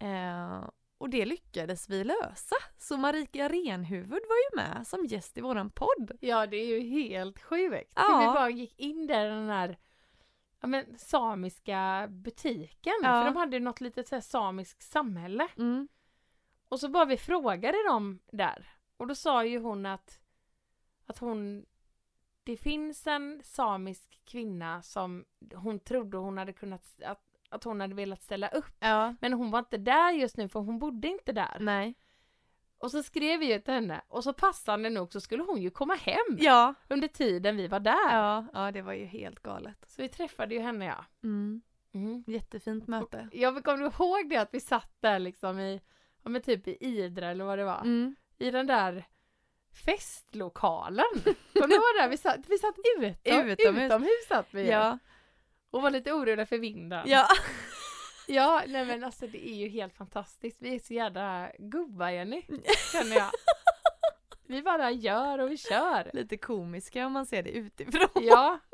Speaker 2: Eh, och det lyckades vi lösa. Så Marika Renhuvud var ju med som gäst i våran podd.
Speaker 1: ja, det är ju helt sjukt.
Speaker 2: Ja.
Speaker 1: Hur Vi bara gick in där i den här ja, men, samiska butiken.
Speaker 2: Ja.
Speaker 1: För de hade ju något litet så här, samiskt samhälle.
Speaker 2: Mm.
Speaker 1: Och så bara vi frågade dem där. Och då sa ju hon att, att hon, det finns en samisk kvinna som hon trodde hon hade kunnat, att, att hon hade velat ställa upp.
Speaker 2: Ja.
Speaker 1: Men hon var inte där just nu för hon bodde inte där.
Speaker 2: Nej.
Speaker 1: Och så skrev vi ju till henne och så passande nog så skulle hon ju komma hem
Speaker 2: Ja.
Speaker 1: under tiden vi var där.
Speaker 2: ja. Ja, det var ju helt galet.
Speaker 1: Så vi träffade ju henne ja.
Speaker 2: Mm.
Speaker 1: Mm.
Speaker 2: Jättefint möte.
Speaker 1: Jag kommer ihåg det att vi satt där liksom i, ja men typ i Idre eller vad det var.
Speaker 2: Mm.
Speaker 1: i den där festlokalen. Kommer du ihåg det? Vi satt, vi satt utom,
Speaker 2: Utomhus.
Speaker 1: utomhus. satt vi
Speaker 2: Ja.
Speaker 1: och var lite oroliga för vinden.
Speaker 2: Ja.
Speaker 1: ja, nej men alltså det är ju helt fantastiskt. Vi är så jävla goa Jenny, känner jag. Vi bara gör och vi kör.
Speaker 2: Lite komiska om man ser det utifrån.
Speaker 1: Ja.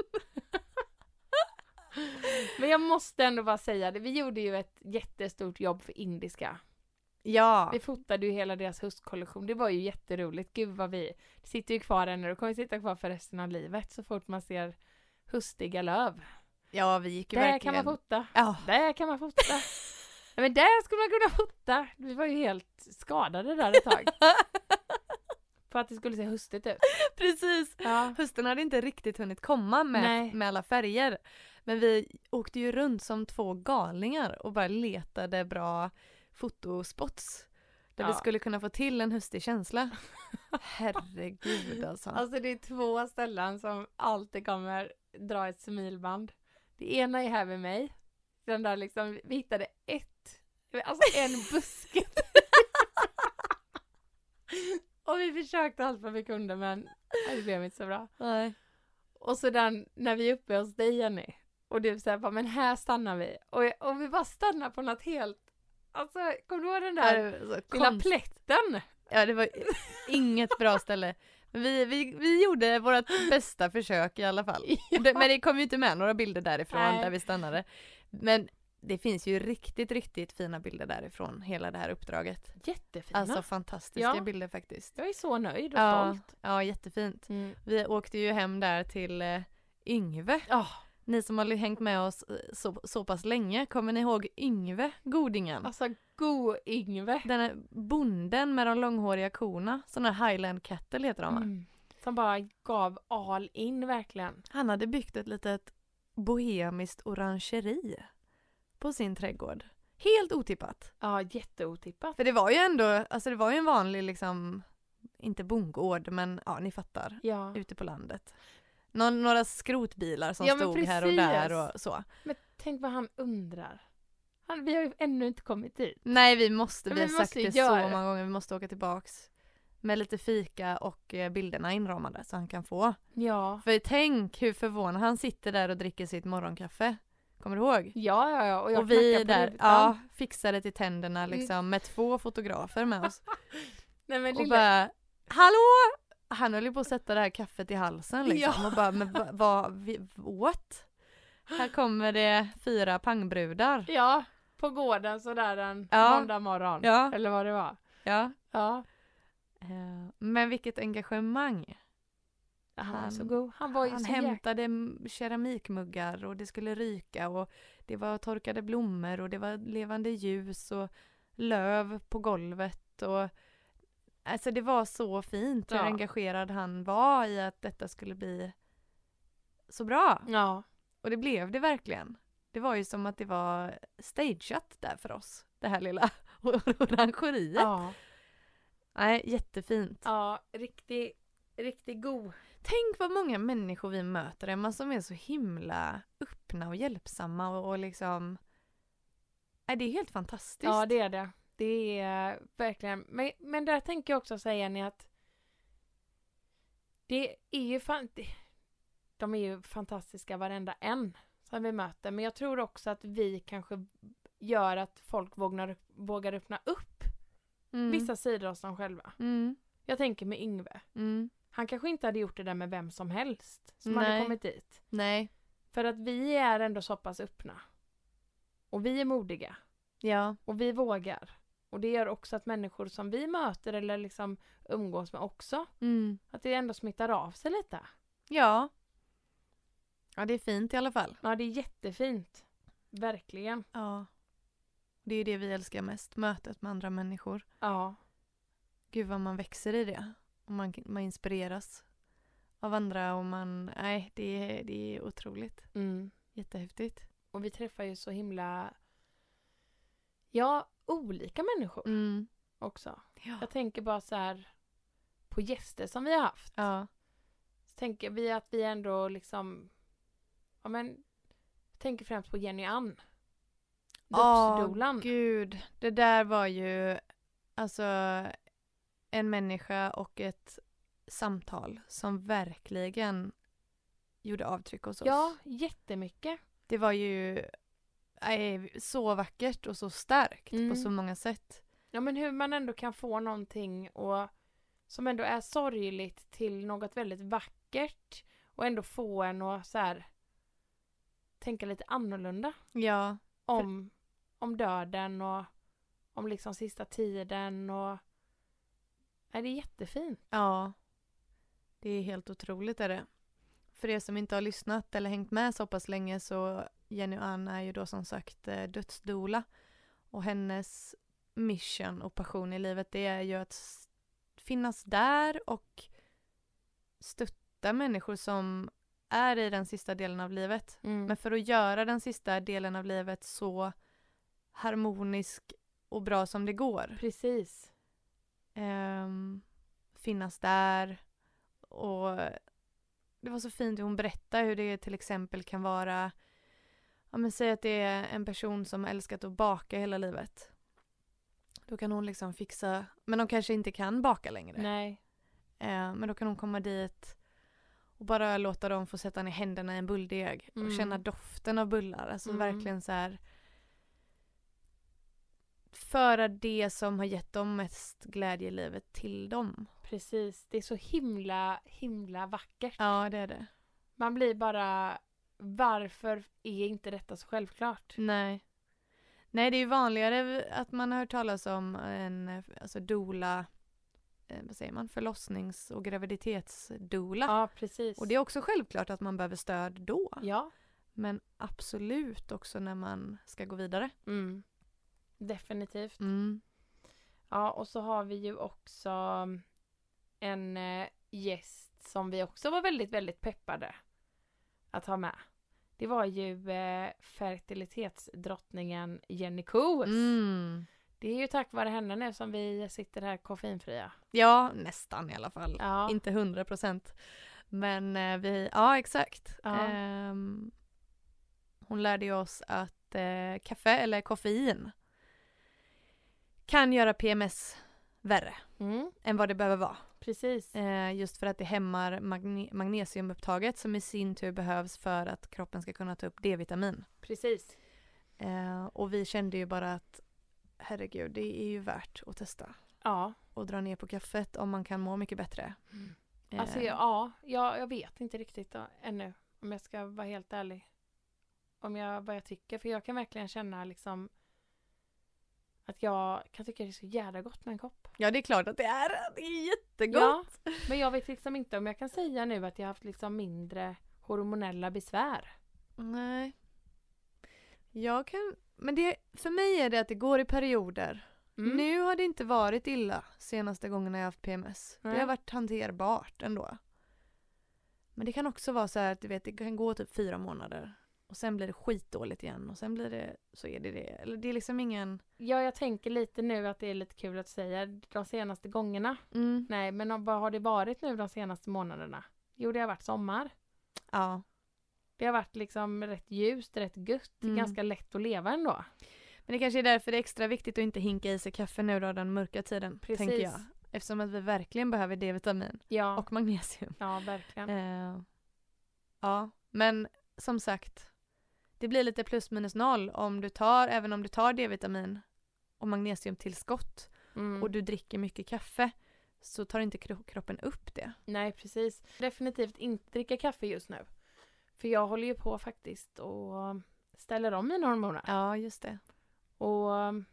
Speaker 1: Men jag måste ändå bara säga det, vi gjorde ju ett jättestort jobb för indiska.
Speaker 2: Ja.
Speaker 1: Vi fotade ju hela deras höstkollektion. Det var ju jätteroligt. Gud vad vi det sitter ju kvar ännu och kommer sitta kvar för resten av livet så fort man ser höstiga löv.
Speaker 2: Ja, vi gick ju
Speaker 1: Där
Speaker 2: verkligen.
Speaker 1: kan man fota.
Speaker 2: Ja.
Speaker 1: Där kan man fota. Nej, men där skulle man kunna fota. Vi var ju helt skadade där ett tag. För att det skulle se höstigt ut.
Speaker 2: Precis.
Speaker 1: Ja.
Speaker 2: Hösten hade inte riktigt hunnit komma med,
Speaker 1: Nej.
Speaker 2: med alla färger. Men vi åkte ju runt som två galningar och bara letade bra fotospots. Där vi
Speaker 1: Ja.
Speaker 2: skulle kunna få till en höstig känsla. Herregud alltså.
Speaker 1: Alltså det är två ställen som alltid kommer dra ett smilband. Det ena är här med mig. Den där liksom, vi hittade ett, alltså en buske. Och vi försökte allt vad vi kunde men det blev inte så bra.
Speaker 2: Nej.
Speaker 1: Och så den, när vi är uppe hos dig Jenny. Och du säger bara, men här stannar vi. Och, och vi bara stannar på något helt, alltså kommer du ihåg den
Speaker 2: Ja,
Speaker 1: där
Speaker 2: det var så
Speaker 1: lilla
Speaker 2: konst-
Speaker 1: plätten?
Speaker 2: ja, det var inget bra ställe. Men vi, vi, vi gjorde vårt bästa försök i alla fall. Det- Men det kom ju inte med några bilder därifrån
Speaker 1: Nej.
Speaker 2: där vi stannade. Men det finns ju riktigt, riktigt fina bilder därifrån hela det här uppdraget.
Speaker 1: Jättefina.
Speaker 2: Alltså fantastiska
Speaker 1: Ja.
Speaker 2: bilder faktiskt.
Speaker 1: jag är så nöjd och
Speaker 2: Ja,
Speaker 1: stolt.
Speaker 2: ja, jättefint.
Speaker 1: Mm.
Speaker 2: Vi åkte ju hem där till eh, Yngve.
Speaker 1: Ja.
Speaker 2: Ni som har hängt med oss eh, så, så pass länge, kommer ni ihåg Yngve Godingen?
Speaker 1: Alltså god Yngve.
Speaker 2: Den här bonden med de långhåriga korna, sådana här highland cattle heter de va?
Speaker 1: Mm. Som bara gav all in verkligen.
Speaker 2: Han hade byggt ett litet bohemiskt orangeri på sin trädgård. Helt otippat.
Speaker 1: Ja, jätteotippat.
Speaker 2: För det var ju ändå, alltså det var ju en vanlig liksom, inte bondgård men ja ni fattar,
Speaker 1: Ja.
Speaker 2: ute på landet. Nå- några skrotbilar som
Speaker 1: Ja, men
Speaker 2: stod här och där
Speaker 1: precis.
Speaker 2: och så.
Speaker 1: Men tänk vad han undrar. Han, vi har ju ännu inte kommit dit.
Speaker 2: Nej vi måste,
Speaker 1: Ja,
Speaker 2: vi
Speaker 1: men
Speaker 2: har
Speaker 1: vi
Speaker 2: sagt
Speaker 1: måste ju
Speaker 2: det
Speaker 1: göra
Speaker 2: så
Speaker 1: det.
Speaker 2: många gånger, vi måste åka tillbaks. Med lite fika och eh, bilderna inramade så han kan få.
Speaker 1: Ja.
Speaker 2: För tänk hur förvånad han sitter där och dricker sitt morgonkaffe. Kommer du ihåg?
Speaker 1: Ja, ja, ja. Och jag
Speaker 2: och vi
Speaker 1: knackar på
Speaker 2: där,
Speaker 1: rutan.
Speaker 2: ja, fixade till tänderna liksom med två fotografer med oss.
Speaker 1: Nej men
Speaker 2: och
Speaker 1: lille,
Speaker 2: bara Hallå! Han höll ju på att sätta det här kaffet i halsen liksom och bara men va- vad, vi- what? Här kommer det fyra pangbrudar.
Speaker 1: ja, på gården sådär en
Speaker 2: Ja.
Speaker 1: måndag morgon.
Speaker 2: Ja,
Speaker 1: Eller vad det var.
Speaker 2: ja.
Speaker 1: Ja.
Speaker 2: Eh, Men vilket engagemang.
Speaker 1: Han, var
Speaker 2: Han-
Speaker 1: så god. Han var ju
Speaker 2: Han
Speaker 1: så jäkla...
Speaker 2: hämtade m- keramikmuggar och det skulle ryka och det var torkade blommor och det var levande ljus och löv på golvet och alltså det var så fint hur
Speaker 1: Ja.
Speaker 2: engagerad han var i att detta skulle bli så bra.
Speaker 1: Ja.
Speaker 2: Och det blev det verkligen. Det var ju som att det var stageat där för oss, det här lilla orangeriet.
Speaker 1: Ja.
Speaker 2: Nej, jättefint.
Speaker 1: ja, riktigt, riktigt god.
Speaker 2: Tänk vad många människor vi möter, Emma, som är så himla öppna och hjälpsamma och, och liksom... Nej, det är helt fantastiskt.
Speaker 1: Ja, det är det. Det är verkligen... Men, men där tänker jag också säga ni att det är ju fan... det- De är ju fantastiska varenda en som vi möter. Men jag tror också att vi kanske gör att folk vågar, vågar öppna upp
Speaker 2: mm.
Speaker 1: vissa sidor av sig själva.
Speaker 2: Mm.
Speaker 1: Jag tänker med Yngve.
Speaker 2: Mm.
Speaker 1: Han kanske inte hade gjort det där med vem som helst som hade
Speaker 2: Nej.
Speaker 1: kommit dit.
Speaker 2: Nej.
Speaker 1: För att vi är ändå så pass öppna. Och vi är modiga.
Speaker 2: Ja.
Speaker 1: Och vi vågar. Och det gör också att människor som vi möter eller liksom umgås med också,
Speaker 2: Mm.
Speaker 1: att det ändå smittar av sig lite.
Speaker 2: Ja. Ja, det är fint i alla fall.
Speaker 1: Ja, det är jättefint. Verkligen.
Speaker 2: Ja. Det är ju det vi älskar mest, mötet med andra människor.
Speaker 1: Ja.
Speaker 2: Gud vad man växer i det. Och man, man inspireras av andra och man, nej det, är- det är otroligt.
Speaker 1: Mm.
Speaker 2: Jättehäftigt.
Speaker 1: Och vi träffar ju så himla, ja, olika människor
Speaker 2: Mm.
Speaker 1: också.
Speaker 2: Ja.
Speaker 1: Jag tänker bara så här på gäster som vi har haft.
Speaker 2: ja.
Speaker 1: Så tänker vi att vi ändå liksom, ja men, jag tänker främst på Jenny Ann.
Speaker 2: Åh,
Speaker 1: Dödsdolan.
Speaker 2: Gud, det där var ju alltså en människa och ett samtal som verkligen gjorde avtryck hos oss.
Speaker 1: ja, jättemycket.
Speaker 2: Det var ju nej, så vackert och så starkt
Speaker 1: Mm.
Speaker 2: på så många sätt.
Speaker 1: Ja men hur man ändå kan få någonting och som ändå är sorgligt till något väldigt vackert och ändå få en att så här tänka lite annorlunda
Speaker 2: Ja,
Speaker 1: om, om döden och om liksom sista tiden och Nej, det är jättefint.
Speaker 2: Ja, det är helt otroligt är det. För er som inte har lyssnat eller hängt med så pass länge så Jenny Ann är ju då som sagt eh, dödsdoula och hennes mission och passion i livet det är ju att s- finnas där och stötta människor som är i den sista delen av livet. Men för att göra den sista delen av livet så harmonisk och bra som det går
Speaker 1: Precis.
Speaker 2: ehm, finnas där. Och det var så fint hur hon berättade hur det till exempel kan vara, ja men säg att det är en person som har älskat att baka hela livet. Då kan hon liksom fixa, men de kanske inte kan baka längre.
Speaker 1: Nej.
Speaker 2: Eh, men då kan hon komma dit och bara låta dem få sätta ner händerna i en bulldeg och
Speaker 1: Mm.
Speaker 2: känna doften av bullar. Alltså
Speaker 1: Mm.
Speaker 2: verkligen så här föra det som har gett dem mest glädje i livet till dem.
Speaker 1: Precis. Det är så himla, himla vackert.
Speaker 2: Ja, det är det. Mm.
Speaker 1: Man blir bara, varför är inte detta så självklart?
Speaker 2: Nej. Nej, det är ju vanligare att man har hört talas om en eh, alltså dola, eh, vad säger man, förlossnings och graviditetsdola.
Speaker 1: Ja, precis.
Speaker 2: Och det är också självklart att man behöver stöd då.
Speaker 1: Ja,
Speaker 2: Men absolut också när man ska gå vidare.
Speaker 1: mm. definitivt. Ja, och så har vi ju också en eh, gäst som vi också var väldigt, väldigt peppade att ha med. Det var ju eh, fertilitetsdrottningen Jenny Koos.
Speaker 2: Mm.
Speaker 1: Det är ju tack vare henne nu som vi sitter här koffeinfria.
Speaker 2: Ja, nästan i alla fall.
Speaker 1: Ja,
Speaker 2: Inte hundra procent. Men eh, vi, ja exakt.
Speaker 1: Ja.
Speaker 2: Ehm, hon lärde ju oss att eh, kaffe eller koffein kan göra PMS värre
Speaker 1: mm,
Speaker 2: än vad det behöver vara.
Speaker 1: precis.
Speaker 2: Eh, just för att det hämmar magne- magnesiumupptaget som i sin tur behövs för att kroppen ska kunna ta upp D-vitamin.
Speaker 1: Precis.
Speaker 2: Eh, och vi kände ju bara att herregud, det är ju värt att testa
Speaker 1: Ja,
Speaker 2: och dra ner på kaffet om man kan må mycket bättre. Eh,
Speaker 1: alltså ja, jag, jag vet inte riktigt då, ännu om jag ska vara helt ärlig. Om jag, vad jag tycker, för jag kan verkligen känna liksom att jag kan tycka det är så jävla gott med en kopp.
Speaker 2: Ja, det är klart att det är. Det är jättegott.
Speaker 1: Ja, men jag vet liksom inte om jag kan säga nu att jag har haft liksom mindre hormonella besvär.
Speaker 2: Nej. Jag kan... Men det, för mig är det att det går i perioder.
Speaker 1: Mm.
Speaker 2: Nu har det inte varit illa senaste gången jag har haft PMS. Det
Speaker 1: Nej.
Speaker 2: har varit hanterbart ändå. Men det kan också vara så här att du vet, det kan gå typ fyra månader och sen blir det skitdåligt igen och sen blir det, så är det det. Eller det är liksom ingen...
Speaker 1: Ja, jag tänker lite nu att det är lite kul att säga de senaste gångerna.
Speaker 2: Mm.
Speaker 1: Nej, men vad har det varit nu de senaste månaderna? Jo, det har varit sommar.
Speaker 2: Ja.
Speaker 1: Det har varit liksom rätt ljust, rätt gött,
Speaker 2: Mm.
Speaker 1: ganska lätt att leva ändå.
Speaker 2: Men det kanske är därför det är extra viktigt att inte hinka i sig kaffe nu då den mörka tiden,
Speaker 1: Precis.
Speaker 2: tänker jag. Eftersom att vi verkligen behöver D-vitamin
Speaker 1: Ja,
Speaker 2: och magnesium.
Speaker 1: ja verkligen.
Speaker 2: Eh, ja, men som sagt. Det blir lite plus minus noll om du tar, även om du tar D-vitamin och magnesiumtillskott
Speaker 1: Mm.
Speaker 2: och du dricker mycket kaffe så tar inte kro- kroppen upp det.
Speaker 1: Nej, precis. Definitivt inte dricka kaffe just nu. För jag håller ju på faktiskt och ställer om mina hormoner.
Speaker 2: Ja, just det.
Speaker 1: Och um,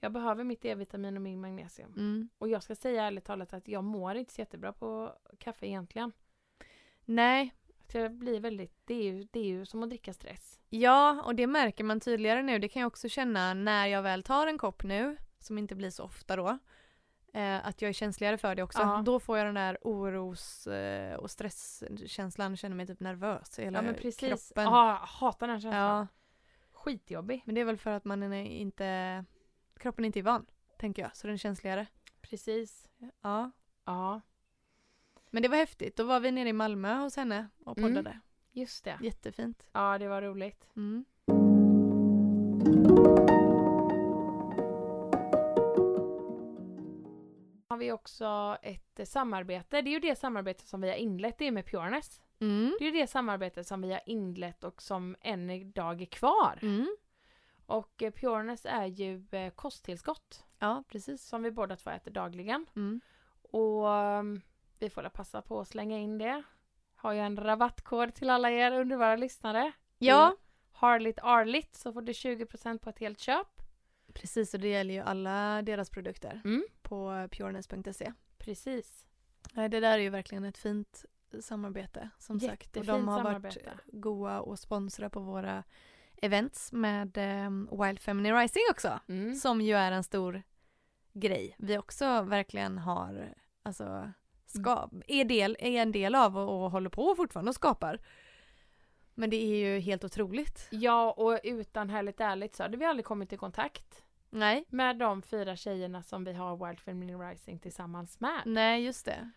Speaker 1: jag behöver mitt D-vitamin och min magnesium.
Speaker 2: Mm.
Speaker 1: Och jag ska säga ärligt talat att jag mår inte så jättebra på kaffe egentligen.
Speaker 2: Nej,
Speaker 1: Att jag blir väldigt, det är, ju, det är ju som att dricka stress.
Speaker 2: ja, och det märker man tydligare nu. Det kan jag också känna när jag väl tar en kopp nu, som inte blir så ofta då, eh, att jag är känsligare för det också.
Speaker 1: Ja.
Speaker 2: Då får jag den där oros eh, och stresskänslan, känner mig typ nervös i hela
Speaker 1: Ja men precis.
Speaker 2: kroppen.
Speaker 1: Ja, jag hatar den här känslan.
Speaker 2: Ja,
Speaker 1: Skitjobbig.
Speaker 2: men det är väl för att man är inte, kroppen inte är van, tänker jag, så den är känsligare.
Speaker 1: Precis.
Speaker 2: Ja.
Speaker 1: Ja,
Speaker 2: Men det var häftigt, då var vi nere i Malmö hos henne och
Speaker 1: Mm.
Speaker 2: poddade.
Speaker 1: just det.
Speaker 2: Jättefint.
Speaker 1: Ja, det var roligt.
Speaker 2: Mm.
Speaker 1: har vi också ett eh, samarbete. Det är ju det samarbete som vi har inlett, det är med Pureness.
Speaker 2: Mm.
Speaker 1: Det är ju det samarbete som vi har inlett och som än idag är kvar.
Speaker 2: Mm.
Speaker 1: Och eh, Pureness är ju eh, kosttillskott
Speaker 2: Ja, precis.
Speaker 1: som vi båda två äter dagligen.
Speaker 2: Mm.
Speaker 1: Och ehm, vi får väl passa på att slänga in det. Har jag en rabattkod till alla er underbara lyssnare.
Speaker 2: Ja,
Speaker 1: Harligt Arligt så får du 20% på ett helt köp.
Speaker 2: precis och det gäller ju alla deras produkter
Speaker 1: Mm.
Speaker 2: på pureness.se.
Speaker 1: Precis.
Speaker 2: Nej, det där är ju verkligen ett fint samarbete som sagt. Och de
Speaker 1: Jättefint
Speaker 2: har
Speaker 1: samarbete.
Speaker 2: varit goa och sponsra på våra events med eh, Wild Feminine Rising också.
Speaker 1: Mm.
Speaker 2: som ju är en stor grej vi också verkligen har, alltså, ska, är, del, är en del av och, och håller på fortfarande och skapar. Men det är ju helt otroligt.
Speaker 1: Ja, och utan Härligt Ärligt så hade vi aldrig kommit i kontakt.
Speaker 2: Nej.
Speaker 1: Med de fyra tjejerna som vi har Wild Feminine Rising tillsammans med.
Speaker 2: Nej, just det.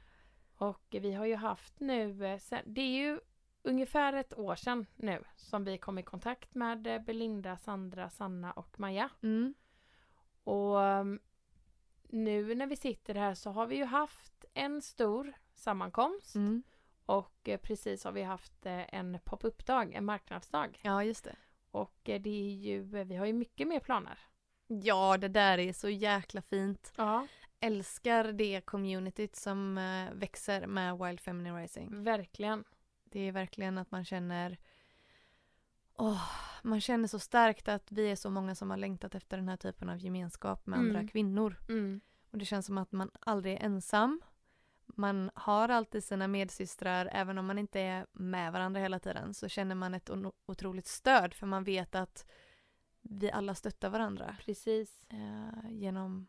Speaker 1: Och vi har ju haft nu, eh, sen, det är ju ungefär ett år sedan nu som vi kom i kontakt med eh, Belinda, Sandra, Sanna och Maja.
Speaker 2: Mm.
Speaker 1: Och ehm, nu när vi sitter här så har vi ju haft en stor sammankomst
Speaker 2: Mm.
Speaker 1: och eh, precis har vi haft eh, en pop-up-dag, en marknadsdag.
Speaker 2: Ja, just det.
Speaker 1: Och eh, det är ju, vi har ju mycket mer planer.
Speaker 2: Ja, det där är så jäkla fint.
Speaker 1: Ja.
Speaker 2: Älskar det communityt som eh, växer med Wild Feminine Rising.
Speaker 1: Verkligen.
Speaker 2: Det är verkligen att man känner Åh, Man känner så starkt att vi är så många som har längtat efter den här typen av gemenskap med
Speaker 1: Mm.
Speaker 2: andra kvinnor.
Speaker 1: Mm.
Speaker 2: Och det känns som att man aldrig är ensam. Man har alltid sina medsystrar, även om man inte är med varandra hela tiden så känner man ett ono- otroligt stöd för man vet att vi alla stöttar varandra
Speaker 1: Precis.
Speaker 2: eh, genom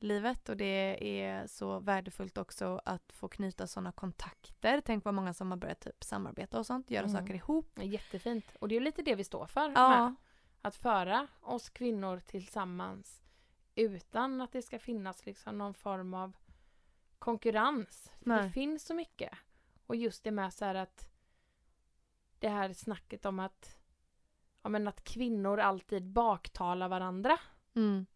Speaker 2: livet och det är så värdefullt också att få knyta sådana kontakter. Tänk vad många som har börjat typ samarbeta och sånt, göra
Speaker 1: Mm.
Speaker 2: saker ihop.
Speaker 1: Ja, Jättefint. Och det är ju lite det vi står för med.
Speaker 2: Ja,
Speaker 1: Att föra oss kvinnor tillsammans utan att det ska finnas liksom någon form av konkurrens. För det
Speaker 2: Nej.
Speaker 1: finns så mycket. Och just det med så här att det här snacket om att ja, men att kvinnor alltid baktalar varandra.
Speaker 2: mm,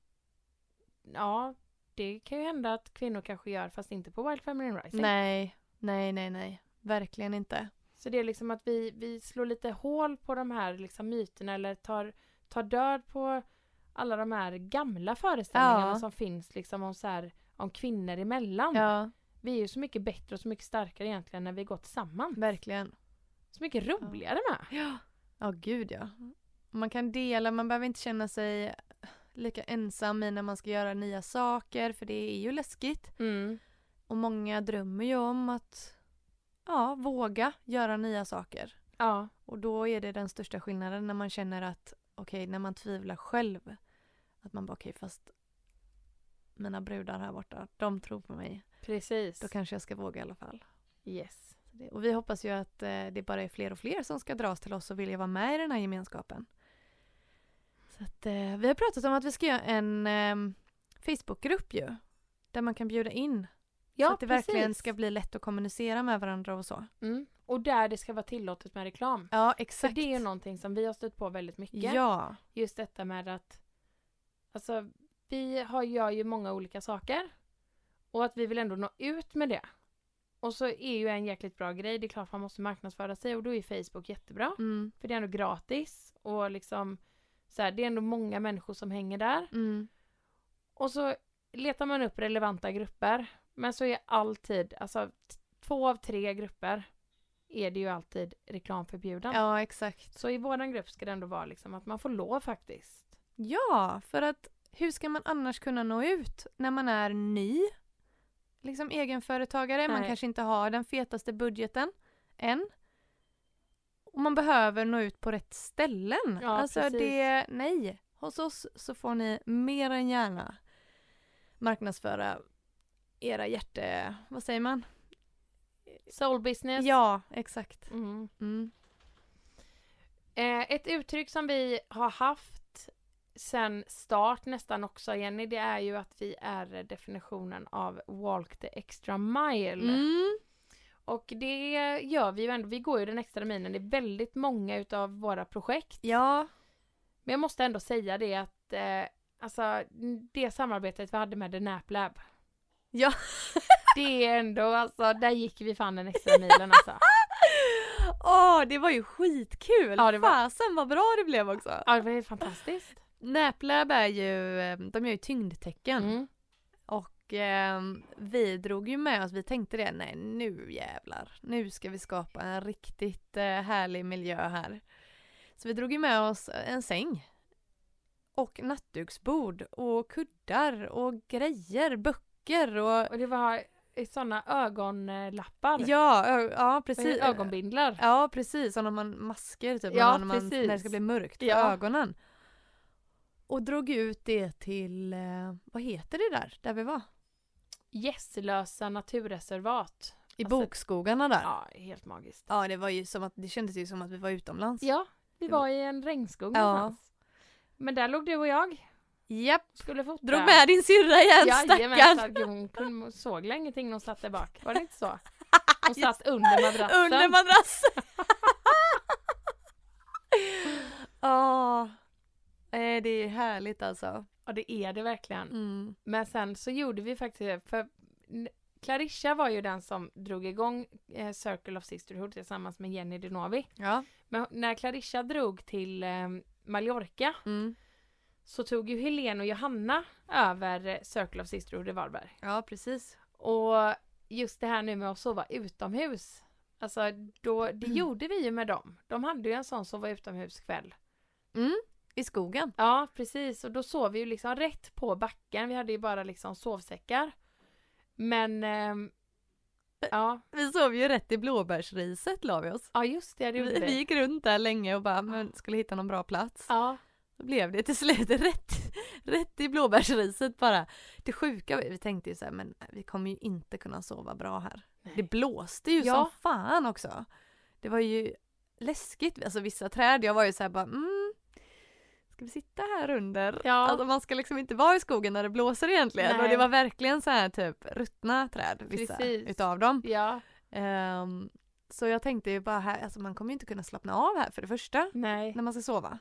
Speaker 1: Ja, det kan ju hända att kvinnor kanske gör fast inte på Wild Feminine Rising.
Speaker 2: nej, nej, nej, nej, verkligen inte.
Speaker 1: Så det är liksom att vi, vi slår lite hål på de här liksom myterna eller tar, tar död på alla de här gamla föreställningarna
Speaker 2: Ja.
Speaker 1: som finns liksom om, så här, om kvinnor emellan.
Speaker 2: Ja,
Speaker 1: Vi är ju så mycket bättre och så mycket starkare egentligen när vi går tillsammans.
Speaker 2: verkligen.
Speaker 1: Så mycket roligare med.
Speaker 2: Ja, ja gud ja. Man kan dela, man behöver inte känna sig lika ensam i när man ska göra nya saker för det är ju läskigt.
Speaker 1: Mm.
Speaker 2: Och många drömmer ju om att ja, våga göra nya saker.
Speaker 1: Ja,
Speaker 2: Och då är det den största skillnaden när man känner att okej, när man tvivlar själv. Att man bara okej, fast mina brudar här borta, de tror på mig.
Speaker 1: precis.
Speaker 2: Då kanske jag ska våga i alla fall.
Speaker 1: Yes.
Speaker 2: Så det- Och vi hoppas ju att eh, det bara är fler och fler som ska dras till oss och vilja vara med i den här gemenskapen. Så att, eh, vi har pratat om att vi ska göra en eh, Facebookgrupp ju. Där man kan bjuda in. så att det verkligen ska bli lätt att kommunicera med varandra och så.
Speaker 1: mm. Och där det ska vara tillåtet med reklam.
Speaker 2: Ja,
Speaker 1: För
Speaker 2: exakt.
Speaker 1: det är ju någonting som vi har stött på väldigt mycket.
Speaker 2: Ja.
Speaker 1: just detta med att alltså, vi har, gör ju många olika saker och att vi vill ändå nå ut med det. Och så är ju en jäkligt bra grej, det är klart man måste marknadsföra sig och då är Facebook jättebra.
Speaker 2: Mm,
Speaker 1: För det är ändå gratis och liksom så här, det är ändå många människor som hänger där.
Speaker 2: mm,
Speaker 1: Och så letar man upp relevanta grupper men så är alltid, alltså t- två av tre grupper är det ju alltid reklamförbjuden.
Speaker 2: ja, exakt.
Speaker 1: Så i våran grupp ska det ändå vara liksom att man får lov faktiskt.
Speaker 2: Ja, för att hur ska man annars kunna nå ut när man är ny? Liksom egenföretagare, man
Speaker 1: Nej.
Speaker 2: kanske inte har den fetaste budgeten än. Och man behöver nå ut på rätt ställen.
Speaker 1: Ja,
Speaker 2: alltså
Speaker 1: precis.
Speaker 2: det, nej. Hos oss så får ni mer än gärna marknadsföra era hjärte... Vad säger man?
Speaker 1: Soul business.
Speaker 2: Ja, exakt.
Speaker 1: Mm.
Speaker 2: Mm.
Speaker 1: Eh, ett uttryck som vi har haft sen start nästan också Jenny, det är ju att vi är definitionen av walk the extra mile.
Speaker 2: Mm.
Speaker 1: Och det gör vi ju ändå, vi går ju den extra milen i väldigt många utav våra projekt.
Speaker 2: Ja.
Speaker 1: Men jag måste ändå säga det att eh, alltså det samarbetet vi hade med The Nap Lab.
Speaker 2: Ja.
Speaker 1: Det är ändå alltså, där gick vi fan den extra milen alltså.
Speaker 2: Åh, det var ju skitkul!
Speaker 1: Ja, det var-
Speaker 2: Fasen vad bra det blev också!
Speaker 1: Ja det var helt fantastiskt.
Speaker 2: Näplab är ju, eh, de gör ju tyngdtecken
Speaker 1: Mm.
Speaker 2: och eh, vi drog ju med oss, vi tänkte det, nej nu jävlar, nu ska vi skapa en riktigt eh, härlig miljö här. Så vi drog ju med oss en säng och nattduksbord och kuddar och grejer, böcker och
Speaker 1: Och det var sådana ögonlappar.
Speaker 2: ja, ö- ja
Speaker 1: Vad heter
Speaker 2: precis.
Speaker 1: det? Ögonbindlar.
Speaker 2: Ja precis, som när man masker typ
Speaker 1: Ja,
Speaker 2: när, man,
Speaker 1: precis.
Speaker 2: när det ska bli mörkt för
Speaker 1: Ja.
Speaker 2: ögonen. Och drog ut det till, eh, vad heter det där, där vi var?
Speaker 1: Gässlösa naturreservat.
Speaker 2: I
Speaker 1: Alltså-
Speaker 2: bokskogarna där. Ja.
Speaker 1: Ja, helt magiskt.
Speaker 2: det var ju som att, det kändes ju som att vi var utomlands.
Speaker 1: Ja, vi var i en regnskog
Speaker 2: Ja.
Speaker 1: någonstans. Men där låg du och jag.
Speaker 2: Japp,
Speaker 1: Skulle fota.
Speaker 2: drog med din syrra igen
Speaker 1: Jajamän, så
Speaker 2: stackarn!
Speaker 1: att hon kunde- såg väl ingenting när hon satt där bak. Var det inte så? Hon satt under madrassen.
Speaker 2: Under madrassen! Ja, eh, det är härligt alltså.
Speaker 1: ja, det är det verkligen.
Speaker 2: Mm.
Speaker 1: Men sen så gjorde vi faktiskt det, för n- Clarissa var ju den som drog igång eh, Circle of Sisterhood tillsammans med Jenny Dinovi.
Speaker 2: Ja.
Speaker 1: Men när Clarissa drog till eh, Mallorca
Speaker 2: Mm.
Speaker 1: så tog ju Helene och Johanna över eh, Circle of Sisterhood i Varberg.
Speaker 2: ja, precis.
Speaker 1: Och just det här nu med att sova
Speaker 2: Mm.
Speaker 1: utomhus. Alltså då, det gjorde vi ju med dem. De hade ju en sån sova utomhuskväll.
Speaker 2: I skogen.
Speaker 1: Ja, precis. Och då sov vi ju liksom rätt på backen. Vi hade ju bara liksom sovsäckar. Men... ehm, ja.
Speaker 2: Vi sov ju rätt i blåbärsriset la vi oss.
Speaker 1: ja, just det. Det gjorde
Speaker 2: Vi, vi
Speaker 1: vi.
Speaker 2: gick runt där länge och bara men skulle hitta någon bra plats.
Speaker 1: Ja,
Speaker 2: Då blev det till slut rätt, rätt i blåbärsriset bara. Det sjuka, var- vi tänkte ju så här, men vi kommer ju inte kunna sova bra här. Det
Speaker 1: Nej.
Speaker 2: blåste ju
Speaker 1: Ja.
Speaker 2: som fan också. Det var ju läskigt, alltså vissa träd, jag var ju så här bara mm, ska vi sitta här under?
Speaker 1: Ja.
Speaker 2: Alltså man ska liksom inte vara i skogen när det blåser egentligen. Och
Speaker 1: Nej.
Speaker 2: det var verkligen så här typ ruttna träd, vissa
Speaker 1: Precis.
Speaker 2: utav dem.
Speaker 1: ja.
Speaker 2: Ehm, så jag tänkte ju bara här, alltså man kommer ju inte kunna slappna av här för det första,
Speaker 1: Nej.
Speaker 2: när man ska sova.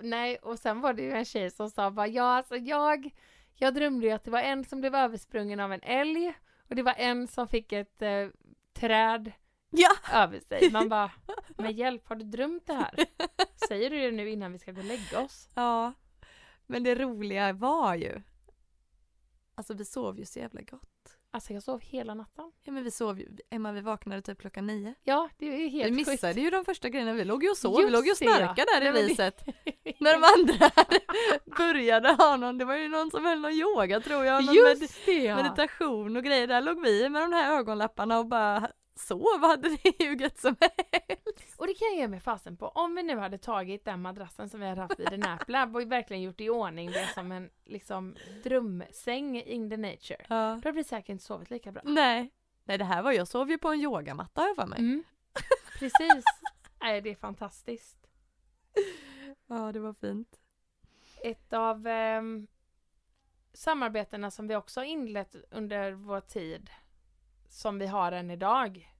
Speaker 1: Nej, och sen var det ju en tjej som sa bara, ja alltså jag, jag drömde ju att det var en som blev översprungen av en älg och det var en som fick ett eh, träd
Speaker 2: Ja.
Speaker 1: över sig. Man bara, men hjälp, har du drömt det här? Säger du det nu innan vi ska gå och lägga oss?
Speaker 2: Ja. Men det roliga var ju, alltså vi sov ju så jävla gott.
Speaker 1: Alltså jag sov hela natten.
Speaker 2: Ja men vi sov ju, Emma vi vaknade typ klockan nio.
Speaker 1: Ja, det är ju helt
Speaker 2: Vi missade ju de första grejerna, vi låg ju och sov, vi
Speaker 1: Just
Speaker 2: låg ju och
Speaker 1: det, ja.
Speaker 2: snarkade där
Speaker 1: Nej,
Speaker 2: i
Speaker 1: men det-
Speaker 2: riset. När de andra började ha någon, det var ju någon som höll någon yoga tror jag, någon med,
Speaker 1: Just det ja!
Speaker 2: meditation och grejer, där låg vi med de här ögonlapparna och bara sov, hade det ju gött som helst.
Speaker 1: Och det kan jag ge mig fasen på. Om vi nu hade tagit den madrassen som vi hade haft i The Nap Lab och verkligen gjort i ordning det som en liksom drömsäng in the nature.
Speaker 2: Ja.
Speaker 1: Då hade vi säkert inte sovit lika bra.
Speaker 2: Nej. Nej det här var, jag sov ju på en yogamatta har jag för mig.
Speaker 1: Mm. Precis. Nej, det är fantastiskt.
Speaker 2: Ja det var fint.
Speaker 1: Ett av ehm, samarbetena som vi också har inlett under vår tid, som vi har än idag.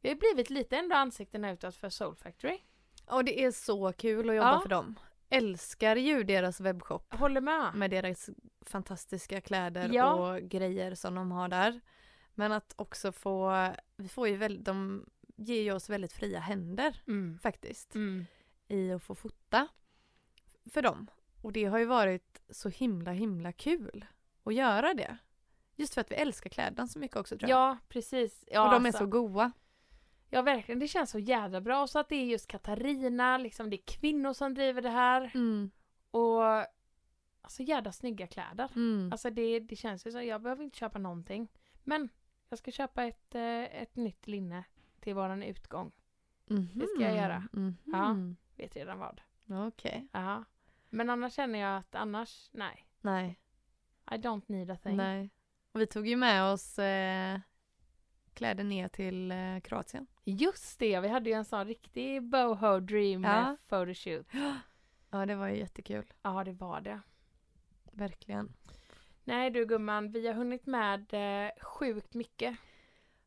Speaker 1: Vi har blivit lite ändå ansiktena utåt för Soul Factory.
Speaker 2: Och det är så kul att
Speaker 1: jobba
Speaker 2: jobba
Speaker 1: för
Speaker 2: för dem. Älskar ju deras webbshop.
Speaker 1: Håller med.
Speaker 2: med deras fantastiska kläder
Speaker 1: Ja.
Speaker 2: och grejer som de har där. Men att också få, vi får ju väl, de ger ju oss väldigt fria händer
Speaker 1: Mm.
Speaker 2: faktiskt
Speaker 1: Mm.
Speaker 2: i att få fota för dem. Och det har ju varit så himla himla kul att göra det. Just för att vi älskar kläderna så mycket också tror jag.
Speaker 1: Ja, precis. Ja,
Speaker 2: och de är
Speaker 1: alltså.
Speaker 2: så goa.
Speaker 1: Ja, verkligen. Det känns så jävla bra. Och så att det är just Katarina, liksom det är kvinnor som driver det här.
Speaker 2: Mm,
Speaker 1: Och alltså jävla snygga kläder.
Speaker 2: mm.
Speaker 1: Alltså det, det känns ju så, jag behöver inte köpa någonting. Men jag ska köpa ett, eh, ett nytt linne till våran utgång. det ska jag göra.
Speaker 2: Mhm.
Speaker 1: Ja. Vet redan vad.
Speaker 2: Okej.
Speaker 1: Ja. Men annars känner jag att annars, nej.
Speaker 2: Nej.
Speaker 1: I don't need a thing.
Speaker 2: Nej. Och vi tog ju med oss eh, kläder ner till eh, Kroatien.
Speaker 1: Just det, vi hade ju en sån riktig boho dream
Speaker 2: Ja.
Speaker 1: eh, photoshoot.
Speaker 2: Ja, det var ju jättekul.
Speaker 1: Ja, det var det.
Speaker 2: Verkligen.
Speaker 1: Nej du gumman, vi har hunnit med eh, sjukt mycket.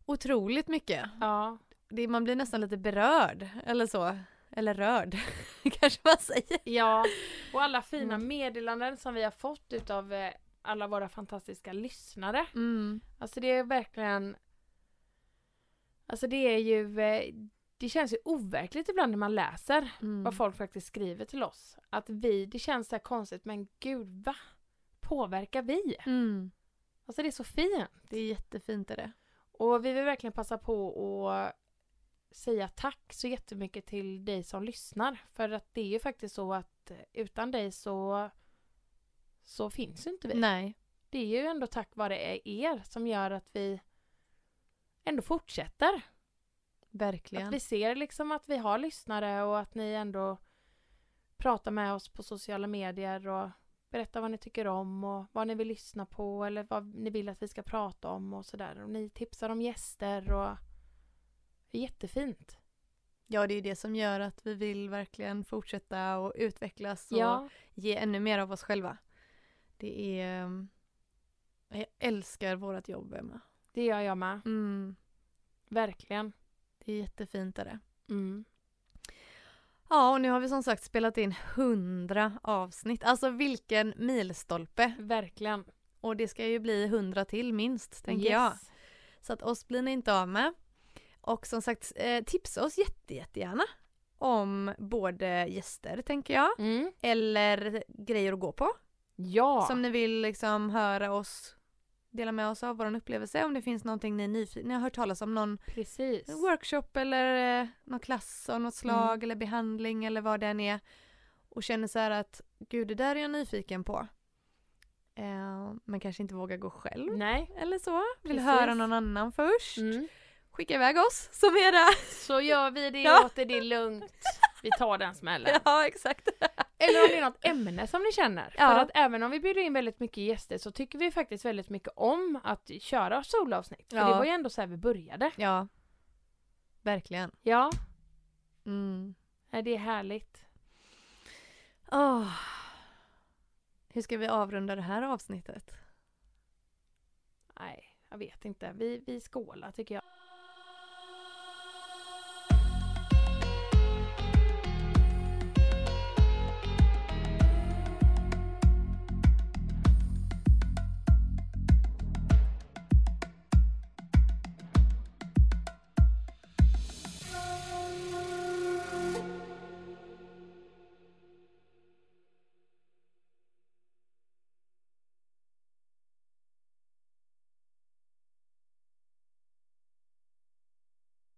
Speaker 2: Otroligt mycket.
Speaker 1: Ja,
Speaker 2: Det, man blir nästan lite berörd, eller så. Eller rörd, kanske man säger.
Speaker 1: ja. och alla fina
Speaker 2: Mm.
Speaker 1: meddelanden som vi har fått utav eh, alla våra fantastiska lyssnare.
Speaker 2: Mm.
Speaker 1: Alltså det är verkligen Alltså det är ju eh, Det känns ju overkligt ibland när man läser
Speaker 2: Mm.
Speaker 1: vad folk faktiskt skriver till oss. Att vi, det känns så här konstigt men gud va? Påverkar vi?
Speaker 2: Mm.
Speaker 1: Alltså det är så fint.
Speaker 2: Det är jättefint är det.
Speaker 1: Och vi vill verkligen passa på att säga tack så jättemycket till dig som lyssnar. För att det är ju faktiskt så att utan dig så så finns ju inte vi.
Speaker 2: Nej.
Speaker 1: Det är ju ändå tack vare er som gör att vi ändå fortsätter.
Speaker 2: Verkligen.
Speaker 1: Att vi ser liksom att vi har lyssnare och att ni ändå pratar med oss på sociala medier och berättar vad ni tycker om och vad ni vill lyssna på eller vad ni vill att vi ska prata om och sådär. Och ni tipsar om gäster och det är jättefint.
Speaker 2: Ja, det är ju det som gör att vi vill verkligen fortsätta och utvecklas och ge ännu mer av oss själva. Det är... ehm, Jag älskar vårt jobb, Emma.
Speaker 1: det gör jag med.
Speaker 2: Mm.
Speaker 1: Verkligen.
Speaker 2: Det är jättefint är det.
Speaker 1: Mm.
Speaker 2: Ja, och nu har vi som sagt spelat in 100 avsnitt. Alltså vilken milstolpe!
Speaker 1: Verkligen.
Speaker 2: Och det ska ju bli 100 till minst, tänker
Speaker 1: Yes.
Speaker 2: jag. Så att oss blir ni inte av med. Och som sagt, eh, tipsa oss jätte, jättegärna om både gäster, tänker jag,
Speaker 1: Mm.
Speaker 2: eller grejer att gå på.
Speaker 1: Ja.
Speaker 2: Som ni vill liksom höra oss dela med oss av vår upplevelse. Om det finns någonting ni är nyfikna Ni har hört talas om någon
Speaker 1: Precis. Mm.
Speaker 2: workshop eller eh, någon klass av något slag eller behandling eller vad det än är. och känner så här att gud det där är jag nyfiken på. Eh, men kanske inte vågar gå själv
Speaker 1: Nej.
Speaker 2: eller så. Vill
Speaker 1: Precis.
Speaker 2: höra någon annan först.
Speaker 1: Mm.
Speaker 2: Skicka iväg oss som är där.
Speaker 1: Så gör vi det
Speaker 2: Ja.
Speaker 1: åt er, det är lugnt. Vi tar den smällen.
Speaker 2: Ja exakt.
Speaker 1: Eller om det är något ämne som ni känner. För
Speaker 2: Ja.
Speaker 1: att även om vi bjuder in väldigt mycket gäster så tycker vi faktiskt väldigt mycket om att köra solavsnitt. För
Speaker 2: Ja.
Speaker 1: det var ju ändå så här vi började.
Speaker 2: Ja. Verkligen.
Speaker 1: Ja,
Speaker 2: Mm.
Speaker 1: nej, det är härligt.
Speaker 2: Åh. Hur ska vi avrunda det här avsnittet?
Speaker 1: Nej, jag vet inte. Vi, vi skålar tycker jag.